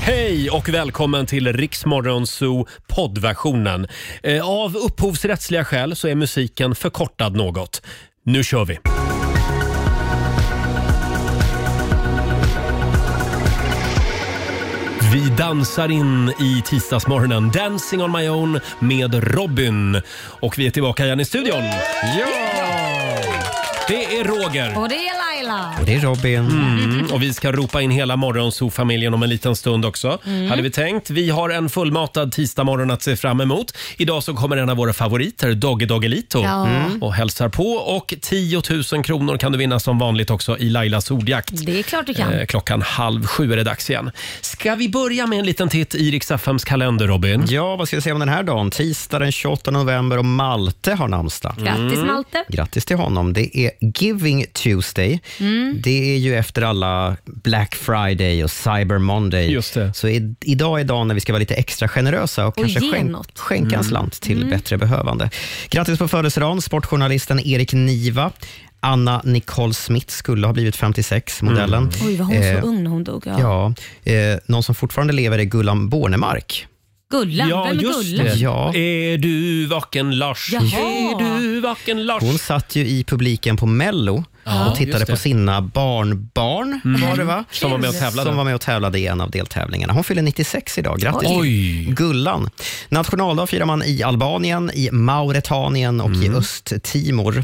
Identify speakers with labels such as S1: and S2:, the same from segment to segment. S1: Hej och välkommen till Riksmorgon Zoo poddversionen. Eh, Av upphovsrättsliga skäl så är musiken förkortad något. Nu kör vi! Vi dansar in i tisdagsmorgonen, Dancing on my own med Robin. Och vi är tillbaka igen i studion. Det är Roger.
S2: Och det är Laila.
S1: Och det är Robin. Mm, och vi ska ropa in hela Morgonzoo-familjen om en liten stund också.
S2: Mm.
S1: Hade vi tänkt. Vi har en fullmatad tisdagmorgon att se fram emot. Idag så kommer en av våra favoriter, Dogge Doggelito,
S2: Ja. Mm.
S1: och hälsar på. Och 10 000 kronor kan du vinna som vanligt också i Lailas ordjakt.
S2: Det är klart du kan.
S1: Eh, klockan halv sju är det dags igen. Ska vi börja med en liten titt i Rix FMs kalender, Robin?
S3: Ja, vad ska vi säga om den här dagen? Tisdag den 28 november och Malte har namnsdag.
S2: Grattis, Mm. Malte.
S3: Grattis till honom. Det är Giving Tuesday.
S2: Mm.
S3: Det är ju efter alla Black Friday och Cyber Monday. Just det. Så i, idag är dagen när vi ska vara lite extra generösa och,
S2: Och
S3: kanske
S2: ge
S3: skän,
S2: något.
S3: skänka en
S2: Mm.
S3: slant till
S2: Mm.
S3: bättre behövande. Grattis på födelsedagen, sportjournalisten Erik Niva. Anna Nicole Smith skulle ha blivit 56, modellen.
S2: Mm. Oj, var hon så
S3: Eh,
S2: ung när hon dog? Ja.
S3: Ja, eh, någon som fortfarande lever är Gullan Bornemark.
S2: Gullan? Vem är Gullan?
S3: Ja.
S1: Är du vaken Lars?
S2: Jaha.
S1: Är du vaken Lars?
S3: Hon satt ju i publiken på Mello
S1: Ja,
S3: och tittade
S1: just det.
S3: på sina barnbarn,
S1: Mm.
S3: var det va?
S1: Som var med och tävlade.
S3: Som var med och tävlade i en av deltävlingarna. Hon fyller 96 idag. Grattis!
S1: Oj.
S3: Gullan. Nationaldag firar man i Albanien, i Mauretanien och
S1: Mm.
S3: i Östtimor.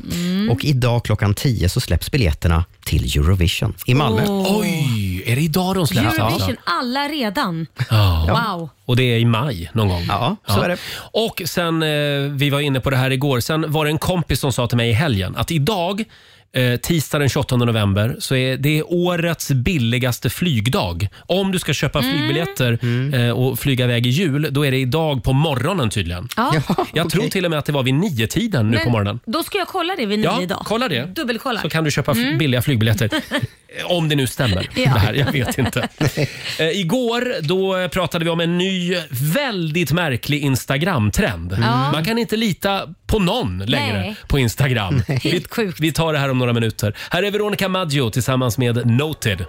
S3: Och idag klockan 10 så släpps biljetterna till Eurovision i Malmö.
S2: Åh.
S1: Oj, är det idag de släpps alltså?
S2: Eurovision, alla redan.
S1: Ja.
S2: Wow.
S1: Och det är i maj någon gång. Ja,
S3: så är det.
S1: Och sen, eh, vi var inne på det här igår, sen var det en kompis som sa till mig i helgen att idag, eh, tisdag den 28 november, så är det årets billigaste flygdag. Om du ska köpa
S2: Mm.
S1: flygbiljetter eh, och flyga iväg i jul, då är det idag på morgonen tydligen.
S2: Ja.
S1: Jag tror till och med att det var vid nio tiden nu på morgonen.
S2: Då ska jag kolla det vid nio
S1: Ja,
S2: idag.
S1: kolla det.
S2: Dubbelkolla.
S1: Så kan du köpa f-
S2: Mm.
S1: billiga flygbiljetter. Om det nu stämmer.
S2: Ja.
S1: Det här, jag vet inte. Eh, igår då pratade vi om en ny väldigt märklig Instagram-trend.
S4: Ja.
S1: Man kan inte lita på någon längre
S4: Nej.
S1: på Instagram.
S4: Nej.
S1: Vi, vi tar det här om några minuter. Här är Veronica Maggio tillsammans med Noted.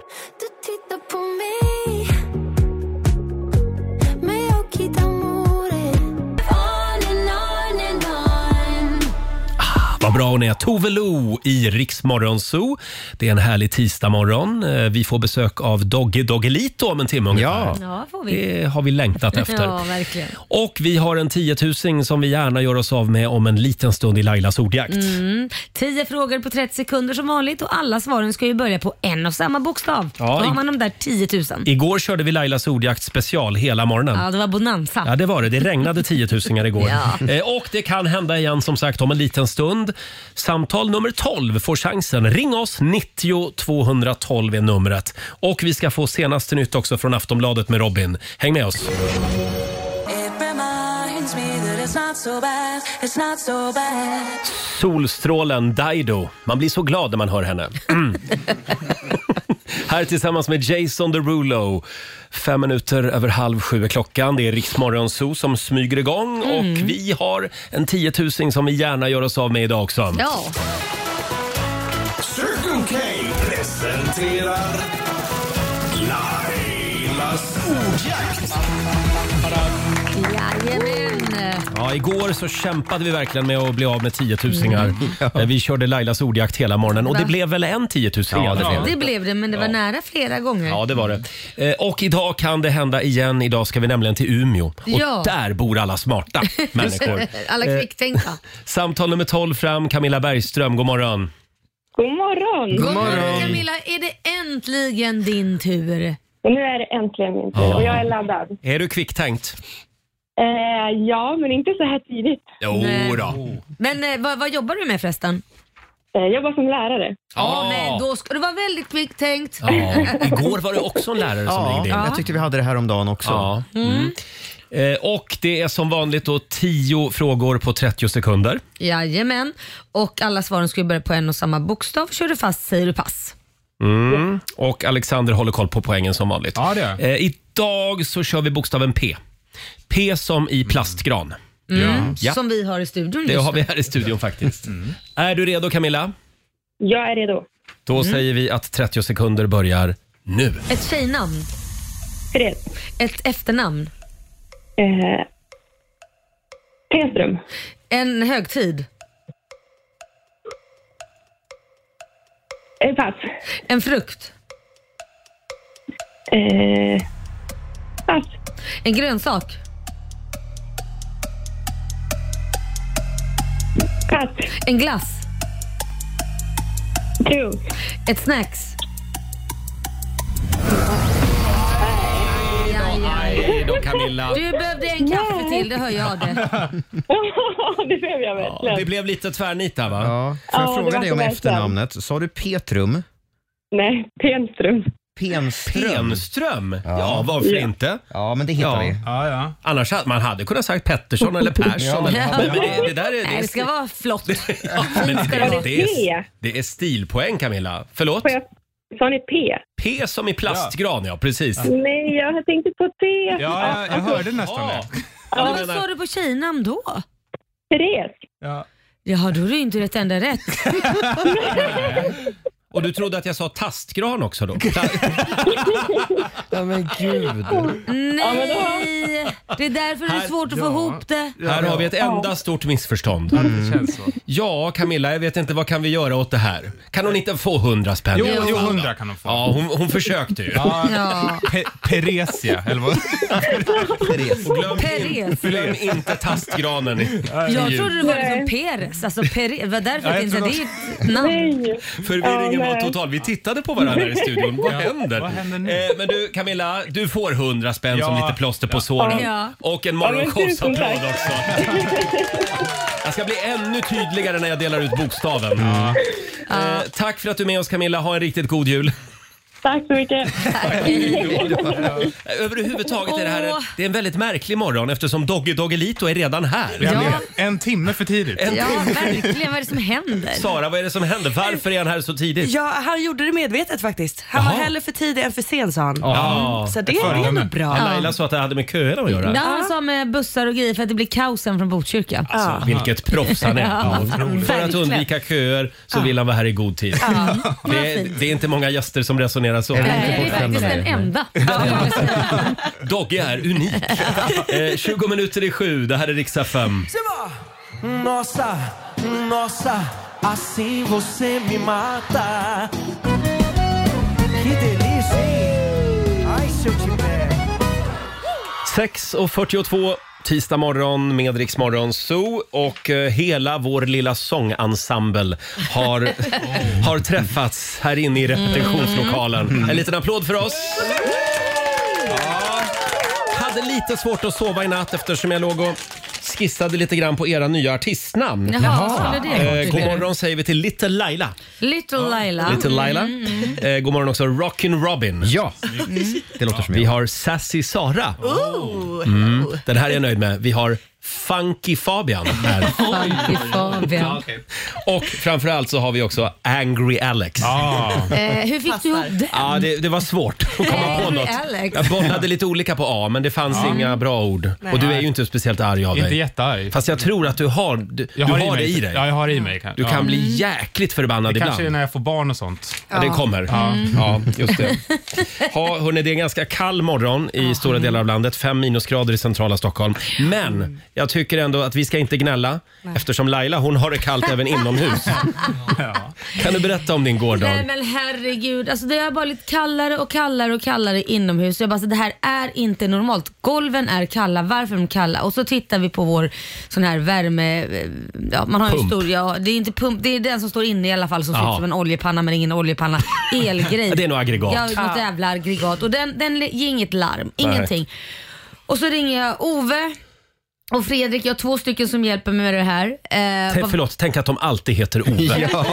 S1: Vad bra hon är. Tove Lo i Riksmorgon Zoo. Det är en härlig tisdagmorgon. Eh, Vi får besök av Dogge Doggelito om en timme ungefär.
S2: Ja, får vi.
S1: Det har vi längtat efter.
S2: Ja, verkligen.
S1: Och vi har en tiotusing som vi gärna gör oss av med om en liten stund i Lailas ordjakt.
S2: Mm. Tio frågor på 30 sekunder som vanligt och alla svaren ska ju börja på en och samma bokstav.
S1: Ja,
S2: Då
S1: i-
S2: har man de där 10 000.
S1: Igår körde vi Lailas ordjakt special hela morgonen.
S2: Ja, det var bonanza.
S1: Ja, det var det. Det regnade tiotusingar igår.
S2: Ja.
S1: Eh, Och det kan hända igen som sagt om en liten stund. Samtal nummer 12 får chansen. Ring oss, 90 212 är numret. Och vi ska få senaste nytt också från Aftonbladet med Robin. Häng med oss. Solstrålen Dido. Man blir så glad när man hör henne. Mm. Här tillsammans med Jason Derulo. Fem minuter över halv sju är klockan. Det är Riksmorgon Zoo som smyger igång
S2: Mm.
S1: och vi har en tiotusing som vi gärna gör oss av med idag också.
S2: Ja.
S5: Circle K presenterar Lailas ordjakt.
S2: Jajamän.
S1: Ja, igår så kämpade vi verkligen med att bli av med tiotusingar.
S2: Mm.
S1: Eh, Vi körde Lailas ordjakt hela morgonen och
S2: Va?
S1: det blev väl en tiotusing i alla fall.
S2: Det blev det, men det var nära flera gånger.
S1: Ja, det var det. Eh, Och idag kan det hända igen. Idag ska vi nämligen till Umeå. Och
S2: Ja.
S1: där bor alla smarta människor.
S2: Alla
S1: Eh,
S2: kvicktänkta.
S1: Samtal nummer 12 fram, Camilla Bergström, god morgon.
S6: God morgon!
S1: God morgon.
S2: Camilla, är det äntligen din tur?
S6: Och nu är det äntligen min tur
S1: Ja.
S6: och jag är laddad.
S1: Är du kvicktänkt?
S6: Eh, ja, men inte så här tidigt.
S1: Jo
S2: Nej.
S1: då.
S2: Men eh, vad, vad jobbar du med förresten?
S6: Eh, Jag jobbar som lärare.
S2: Ja,
S1: Ah.
S2: men då ska du vara väldigt kvicktänkt.
S1: Ja. Igår var det också en lärare som
S3: Ja,
S1: ringde in.
S3: jag tyckte vi hade det här om dagen också.
S1: Ja. Mm. Eh, Och det är som vanligt då 10 frågor på 30 sekunder.
S2: Jajamän. Och alla svaren ska ju börja på en och samma bokstav. Kör du fast säger du pass.
S1: Mm. Och Alexander håller koll på poängen som vanligt. Ja, det eh, idag så kör vi bokstaven P. P som i plastgran.
S2: Mm.
S1: Ja.
S2: Som vi har i studion
S1: Det
S2: just
S1: har vi
S2: nu.
S1: här i studion faktiskt. Är du redo Camilla?
S6: Jag är redo.
S1: Då säger vi att 30 sekunder börjar nu.
S2: Ett tjejnamn.
S6: Fred.
S2: Ett efternamn.
S6: Eh, Tenström.
S2: En högtid.
S6: Eh, pass.
S2: En frukt.
S6: Eh, pass.
S2: En grönsak.
S6: Pass.
S2: En glass.
S6: Kung.
S2: Ett snacks. Ja, ja.
S1: Nej då Camilla.
S2: Du behövde en kaffe till, det hör jag det.
S6: det blev jag
S1: Ja,
S6: verkligen.
S1: det blev lite tvärnit där va?
S3: Ja. Får jag
S6: Ja, det
S3: fråga
S6: var
S3: dig
S6: så
S3: om
S6: verkligen.
S3: efternamnet? Sa du Petrum?
S6: Nej, Tenström.
S3: Penström?
S1: Penström? Ja, varför inte?
S3: Ja, men det hittar
S1: Ja.
S3: vi.
S4: Ja, ja.
S1: Annars hade man hade kunnat sagt Pettersson eller Persson. eller,
S2: Ja.
S1: men det, det där är...
S2: Nej, det ska vara flott.
S1: ja, men det,
S2: Var
S1: det,
S2: det
S6: P?
S1: är, det är stilpoäng Camilla. Förlåt?
S6: Får jag... Sa ni P?
S1: P som i plastgran ja, precis.
S6: Nej, jag tänkte på T.
S4: ja jag,
S2: alltså,
S4: jag hörde nästan
S1: Ja.
S4: det.
S1: Ja, du
S2: Men vad
S1: menar-
S2: sa du på tjejnamn då?
S6: Therese.
S4: Ja.
S2: Jaha, då är det ju inte ett enda rätt.
S1: Och du trodde att jag sa tastgran också då?
S3: Ja, men gud.
S2: Nej! Det är därför det är svårt att få ihop det.
S1: Här har vi ett enda stort missförstånd. Mm.
S4: Det känns så.
S1: Ja, Camilla, jag vet inte vad kan vi göra åt det här? Kan hon inte få hundra spänn?
S4: Jo,
S1: i alla
S4: jo,
S1: fall då?
S4: hundra kan hon få.
S1: Ja, hon, hon försökte ju.
S2: Ja.
S4: Pe Peresia, eller vad?
S1: Och glöm, in,
S2: Peres.
S1: glöm inte tastgranen. i-
S2: Jag trodde det var liksom Peres, alltså Peres. Vad därför
S4: Ja, jag
S2: att inte det
S4: trodde
S2: är ju ett namn.
S6: Nej.
S1: Förvirringen
S6: Ja,
S1: var
S6: nej.
S1: total. Vi tittade på varandra här i studion. Vad händer?
S4: vad händer nu?
S1: Eh, men du Camilla, du får 100 spänn som
S4: Ja.
S1: lite plåster på såren.
S2: Ja.
S1: Och en
S6: men tusen
S1: morgonshowsapplåd
S6: tack.
S1: också. Jag ska bli ännu tydligare när jag delar ut bokstaven. Eh, tack för att du är med oss Camilla. Ha en riktigt god jul.
S6: Tack så mycket.
S1: Överhuvudtaget är det här en,
S2: Åh.
S1: det är en väldigt märklig morgon eftersom Doggy Doggelito är redan här.
S4: Jag
S2: Ja.
S4: vet. En timme för tidigt.
S2: Ja, verkligen. Vad är det som händer?
S1: Sara, vad är det som händer? Varför är han här så tidigt?
S7: Ja, han gjorde det medvetet faktiskt. Han
S1: Jaha.
S7: var hellre för tidig än för sen sa han. Mm.
S1: Ja.
S7: Så det, det är nog bra.
S1: Laila sa att det hade med köerna att göra.
S2: Ja, han sa med bussar och grejer för att det blir kaosen från Botkyrka.
S1: Alltså, vilket proffs han är.
S2: Ja, otroligt.
S1: För att
S2: verkligen.
S1: undvika köer så vill han vara här i god tid. Det, är, det är inte många gäster som resonerar så.
S2: Nej, det är faktiskt den enda.
S1: Dogge är unik. Eh, 20 minuter i sju, det här är riksdag 5.
S5: Nossa, nossa, assim você me mata. Que delícia, hein? Ai, se eu te pego.
S1: 6.42 tisdag morgon med Rix Morgon Zoo och eh, hela vår lilla sångensemble har, har träffats här inne i repetitionslokalen. En liten applåd för oss! Ja. Hade lite svårt att sova i natt eftersom jag låg och skissade lite grann på era nya artistnamn.
S2: Jaha, vad skulle det
S1: Eh, god
S2: vara?
S1: morgon säger vi till Little Laila.
S2: Little Laila.
S1: Little Laila. Eh, god morgon också Rockin' Robin.
S3: Ja,
S2: Mm.
S3: det låter som
S1: Vi
S3: jag.
S1: har Sassy Sara. Mm. Den här är jag nöjd med. Vi har Funky Fabian här.
S2: Funky Fabian.
S1: Och framförallt så har vi också Angry Alex. Ja,
S4: Ah.
S2: Eh, hur fick du ihop det?
S1: det, det var svårt att komma på
S2: Angry
S1: något.
S2: Alex.
S1: Jag bollade lite olika på A, men det fanns inga bra ord. Och du är ju inte speciellt arg av
S4: Inte
S1: dig.
S4: jättearg.
S1: Fast jag tror att du har, du, du har, det i dig.
S4: Ja, jag har det i mig. kan-
S1: Du kan
S4: ja.
S1: bli jäkligt förbannad ibland.
S4: Kanske när jag får barn och sånt.
S1: Ja, det kommer. Mm. Ja.
S2: Mm.
S1: just det. Ha, hörni, det är en ganska kall morgon i stora delar av landet. Fem minusgrader i centrala Stockholm.
S2: Mm.
S1: Men jag tycker ändå att vi ska inte gnälla eftersom Laila hon har det kallt även inomhus. Kan du berätta om din
S2: Nej
S1: gårdag?
S2: men herregud, alltså det har bara blivit kallare och kallare och kallare inomhus. Jag bara, så det här är inte normalt. Golven är kalla, varför är de kalla? Och så tittar vi på vår sån här värme... eh, Ja, man har ju en
S1: Pump.
S2: stor, ja, det är inte pump, det är den som står inne i alla fall som ser
S1: Ja.
S2: ut som en oljepanna men ingen oljepanna. Elgrej.
S1: Ja, det är nog aggregat.
S2: Ja, något jävla aggregat. Och den, den ger inget larm, ingenting. Och så ringer jag Ove och Fredrik, jag har två stycken som hjälper mig med det här. Eh,
S1: T-
S2: vad-
S1: Förlåt, tänk att de alltid heter Ove.
S3: Ja,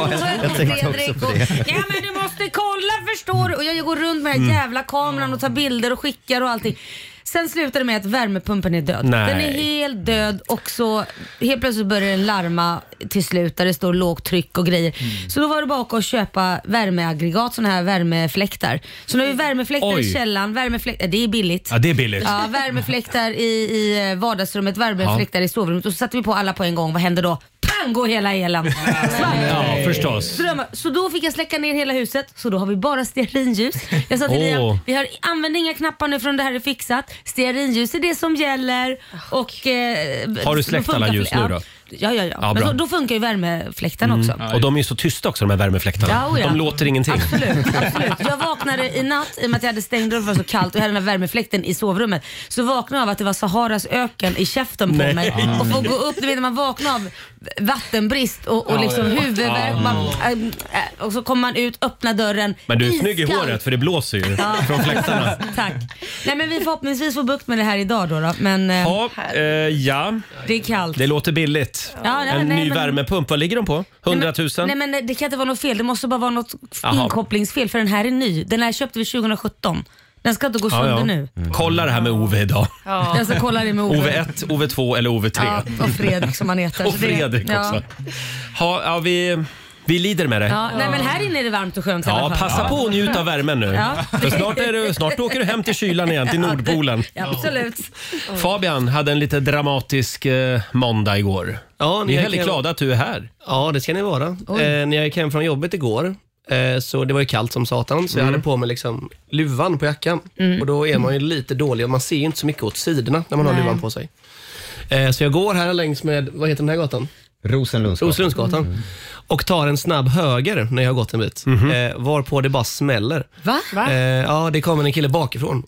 S3: jag tänkte också
S2: Fredrik
S3: på
S2: och,
S3: det.
S1: Mm.
S2: ja men du måste kolla förstår du. Och jag går runt med den här jävla kameran och tar bilder och skickar och allting. Sen slutar det med att värmepumpen är död.
S1: Nej.
S2: Den är helt död och så helt plötsligt börjar den larma till slut där det står lågt tryck och grejer.
S1: Mm.
S2: Så då var det bara att åka och köpa värmeaggregat, sådana här värmefläktar. Så nu har vi värmefläktar
S1: Oj.
S2: i källaren, värmefläktar, det är billigt.
S1: Ja, det är billigt.
S2: Ja, eh, värmefläktar i, i vardagsrummet, värmefläktar i sovrummet och så satte vi på alla på en gång. Vad händer då? Pang! pang går hela elen. Svart.
S1: Ja, förstås.
S2: Drömmar. Så då fick jag släcka ner hela huset, så då har vi bara stearinljus. Jag sa till
S1: Åh.
S2: Liam, vi har, använder inga knappar nu från det här är fixat. Stearinljus är det som gäller. Och, eh,
S1: Har du
S2: då
S1: släckt
S2: funkar
S1: alla
S2: fl-
S1: ljus nu
S2: ja.
S1: då?
S2: Ja, ja, ja.
S1: Ja,
S2: Men
S1: bra. Mm.
S2: så, då funkar ju värmefläktarna också.
S1: Och de är ju så tysta också de här värmefläktarna.
S2: Ja, oja.
S1: De låter ingenting.
S2: Absolut, absolut. Jag vaknade i natt, i och med att jag hade stängd dörren för det var så kallt och jag hade den här värmefläkten i sovrummet. Så vaknade jag av att det var Saharas öken i käften på
S1: Nej. Mm.
S2: mig. Och får gå upp, du vet när man vaknar av vattenbrist och, och liksom huvudvärk. Man, äh, äh, och så kommer man ut, öppnar dörren.
S1: Ah. Men du är snygg i
S2: iskallt.
S1: håret för det blåser ju
S2: Ja.
S1: från fläktarna.
S2: Tack. Nej men vi förhoppningsvis får bukt med det här idag då. då. Men eh,
S1: Ja, eh, ja,
S2: det är kallt.
S1: det låter billigt.
S2: Ja, nej,
S1: en
S2: nej,
S1: ny
S2: men-
S1: värmepump, vad ligger de på? 100 000?
S2: Nej men eh, det kan inte vara något fel. Det måste bara vara något
S1: Jaha.
S2: inkopplingsfel för den här är ny. Den här köpte vi 2017. Den ska inte gå
S1: Ja,
S2: sönder
S1: ja.
S2: nu.
S1: Kolla det här med Ove idag.
S2: Jag ska kolla det med Ove.
S1: Ove 1, Ove 2 eller Ove 3.
S2: Ja, och Fredrik som han heter.
S1: Och
S2: Så det-
S1: Fredrik
S2: ja.
S1: också. Ha, ja, vi, vi lider med det.
S2: Ja, nej, men här inne är det varmt och skönt i
S1: Ja,
S2: alla fall.
S1: passa på att njuta av värmen nu.
S2: Ja.
S1: För snart, är du, snart åker du hem till kylan igen, till Nordpolen.
S2: Ja, absolut.
S1: Fabian hade en lite dramatisk eh, måndag igår.
S8: Ja,
S1: Vi är
S8: gick
S1: väldigt
S8: hem-
S1: glada att du är här.
S8: Ja, det ska ni vara. Eh, när jag gick hem från jobbet igår, eh, så det var ju kallt som satan, så jag hade på mig liksom luvan på jackan. Och då är man ju lite dålig och man ser ju inte så mycket åt sidorna när man har
S2: Nej.
S8: luvan på sig. Eh, så jag går här längs med, vad heter den här gatan?
S3: Rosenlundsgatan.
S8: Roslundsgatan. Och tar en snabb höger när jag har gått en bit, eh, varpå det bara smäller.
S2: Va?
S8: Eh, ja, det kommer en kille bakifrån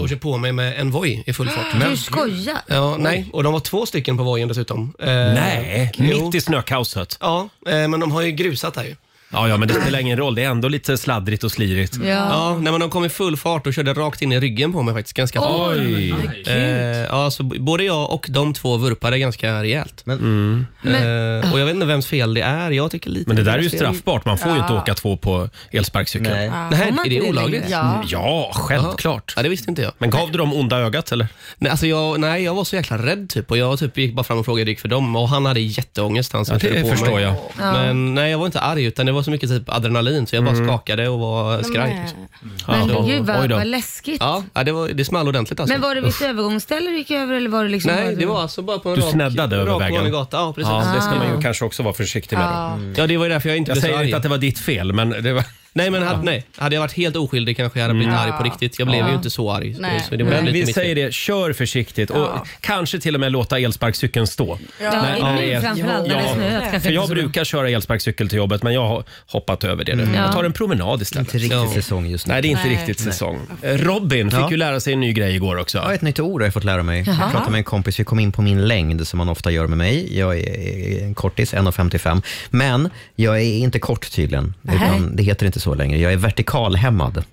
S8: och kör på mig med en Voi i full fart.
S2: Du skojar?
S8: Ja, nej, och de var två stycken på Voien dessutom. Eh,
S1: Nej,
S8: jo.
S1: mitt i snökaoset.
S8: Ja, eh, men de har ju grusat här ju.
S1: Ja, ja, men det spelar ingen roll. Det är ändå lite sladdrigt och slirigt.
S2: Ja.
S8: Ja, nej, men de kom i full fart och körde rakt in i ryggen på mig faktiskt. Ganska hårt.
S1: Oj!
S8: Eh, ja, så b- både jag och de två vurpade ganska rejält.
S3: Men-
S8: Eh, och jag vet inte vems fel det är. Jag tycker lite
S1: Men det där är ju
S8: deras fel.
S1: straffbart. Man får ju inte åka två på elsparkcykel.
S3: Nej.
S8: Nej,
S2: Får man
S8: är det
S2: inte
S8: olagligt?
S2: längre?
S7: Ja.
S1: Ja, självklart.
S8: Ja, det visste inte jag.
S1: Men gav du dem onda ögat eller?
S8: Nej, alltså jag. nej, jag var så jäkla rädd typ och jag typ gick bara fram och frågade hur det gick för dem och han hade jätteångest han som
S1: Ja, det
S8: körde på
S1: förstår
S8: mig.
S1: jag.
S8: Men nej, jag var inte arg utan det var så mycket typ adrenalin så jag bara
S1: Mm.
S8: skakade och var
S2: eh,
S8: skraj. liksom.
S2: Men
S1: Ja.
S2: gud
S1: Oj
S2: vad,
S1: då.
S2: vad läskigt.
S8: Ja, ja det, var, det small ordentligt alltså.
S2: Men var det vid ett övergångsställe du gick över eller var det liksom bara-
S8: Nej, det var alltså bara på en
S1: Du
S8: rak,
S1: sneddade över
S8: rak
S1: vägen.
S8: vanlig gata. Ja, precis.
S1: Ja, det ska
S2: Ah.
S1: man ju kanske också vara försiktig med. Då. Mm.
S8: Ja, det var ju därför jag inte
S1: Jag
S8: blev så
S1: säger
S8: arg.
S1: inte att det var ditt fel, men det var... Mm.
S8: Nej, men hade, nej. hade jag varit helt oskyldig kanske jag hade blivit arg på riktigt. Jag blev ju inte så arg.
S7: Nej.
S8: Så det var
S1: Men
S8: lite
S1: vi
S8: mitt fel.
S1: säger det, kör försiktigt och kanske till och med låta elsparkcykeln stå.
S2: Ja,
S1: Ja, det
S2: nu
S1: är-
S2: framförallt när det
S1: Ja.
S2: är snöat kanske
S1: För
S2: inte
S1: jag
S2: så bra. Mm.
S1: brukar köra elsparkcykel till jobbet men jag har hoppat över det nu. Jag tar en promenad istället.
S3: Inte riktigt
S8: Ja.
S3: säsong just nu.
S1: Nej, det är inte
S7: Nej.
S1: riktigt säsong. Eh, Robin fick
S3: Ja.
S1: ju lära sig en ny grej igår
S3: Ja,
S1: också.
S3: ett nytt ord har jag fått lära mig. Jag pratade med en kompis, vi kom in på min längd som man ofta gör med mig. Jag är en kortis, 1,55. Men jag är inte kort tydligen, utan det heter inte så längre. Jag är vertikalhämmad.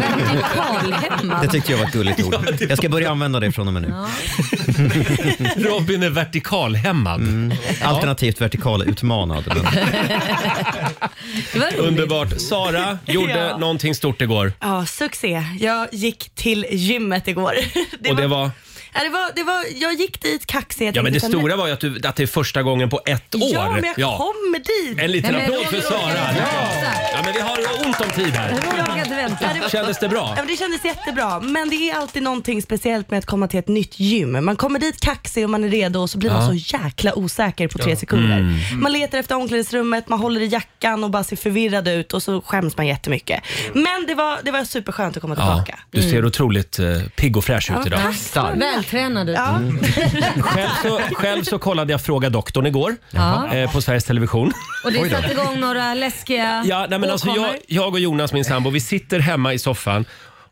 S2: Vertikalhämmad.
S3: Det tyckte jag var ett gulligt ord. Jag ska börja använda det från och med nu.
S1: Robin är vertikalhämmad.
S3: Mm. Alternativt vertikalutmanad. Men
S2: Det var roligt.
S1: Underbart. Sara gjorde
S7: Ja.
S1: någonting stort igår
S7: Ja, succé. Jag gick till gymmet igår. Det
S1: och det var...
S7: Ja, det var, det var, jag gick dit kaxig. Jag
S1: Ja, men det
S7: tänkte så här,
S1: stora var ju att, du, att det är första gången på ett år.
S7: Ja, men jag kom dit.
S1: En liten
S2: Nej, men
S1: applåd för
S2: Roger
S1: Sara.
S2: orkar inte
S1: Ja.
S2: vänta.
S1: ja, men vi har ont om tid här.
S2: Jag orkar inte vänta.
S1: Kändes det bra?
S7: Ja, men det kändes jättebra, men det är alltid någonting speciellt med att komma till ett nytt gym. Man kommer dit kaxig och man är redo och så blir man så jäkla osäker på tre sekunder.
S1: Mm.
S7: Man letar efter omklädningsrummet, man håller i jackan och bara ser förvirrad ut och så skäms man jättemycket. Men det var, det var superskönt att komma
S1: Mm. Ja,
S7: tillbaka. Mm.
S1: du ser otroligt eh, pigg och fräsch ut idag. Mm.
S2: Vältränad ut.
S7: Ja.
S1: Själv så, själv så kollade jag Fråga doktorn igår
S2: Ja.
S1: eh, på Sveriges Television.
S2: Och det satte igång några läskiga
S1: Ja, nej, men alltså jag,
S2: åkommor.
S1: jag och Jonas, min sambo, vi sitter hemma i soffan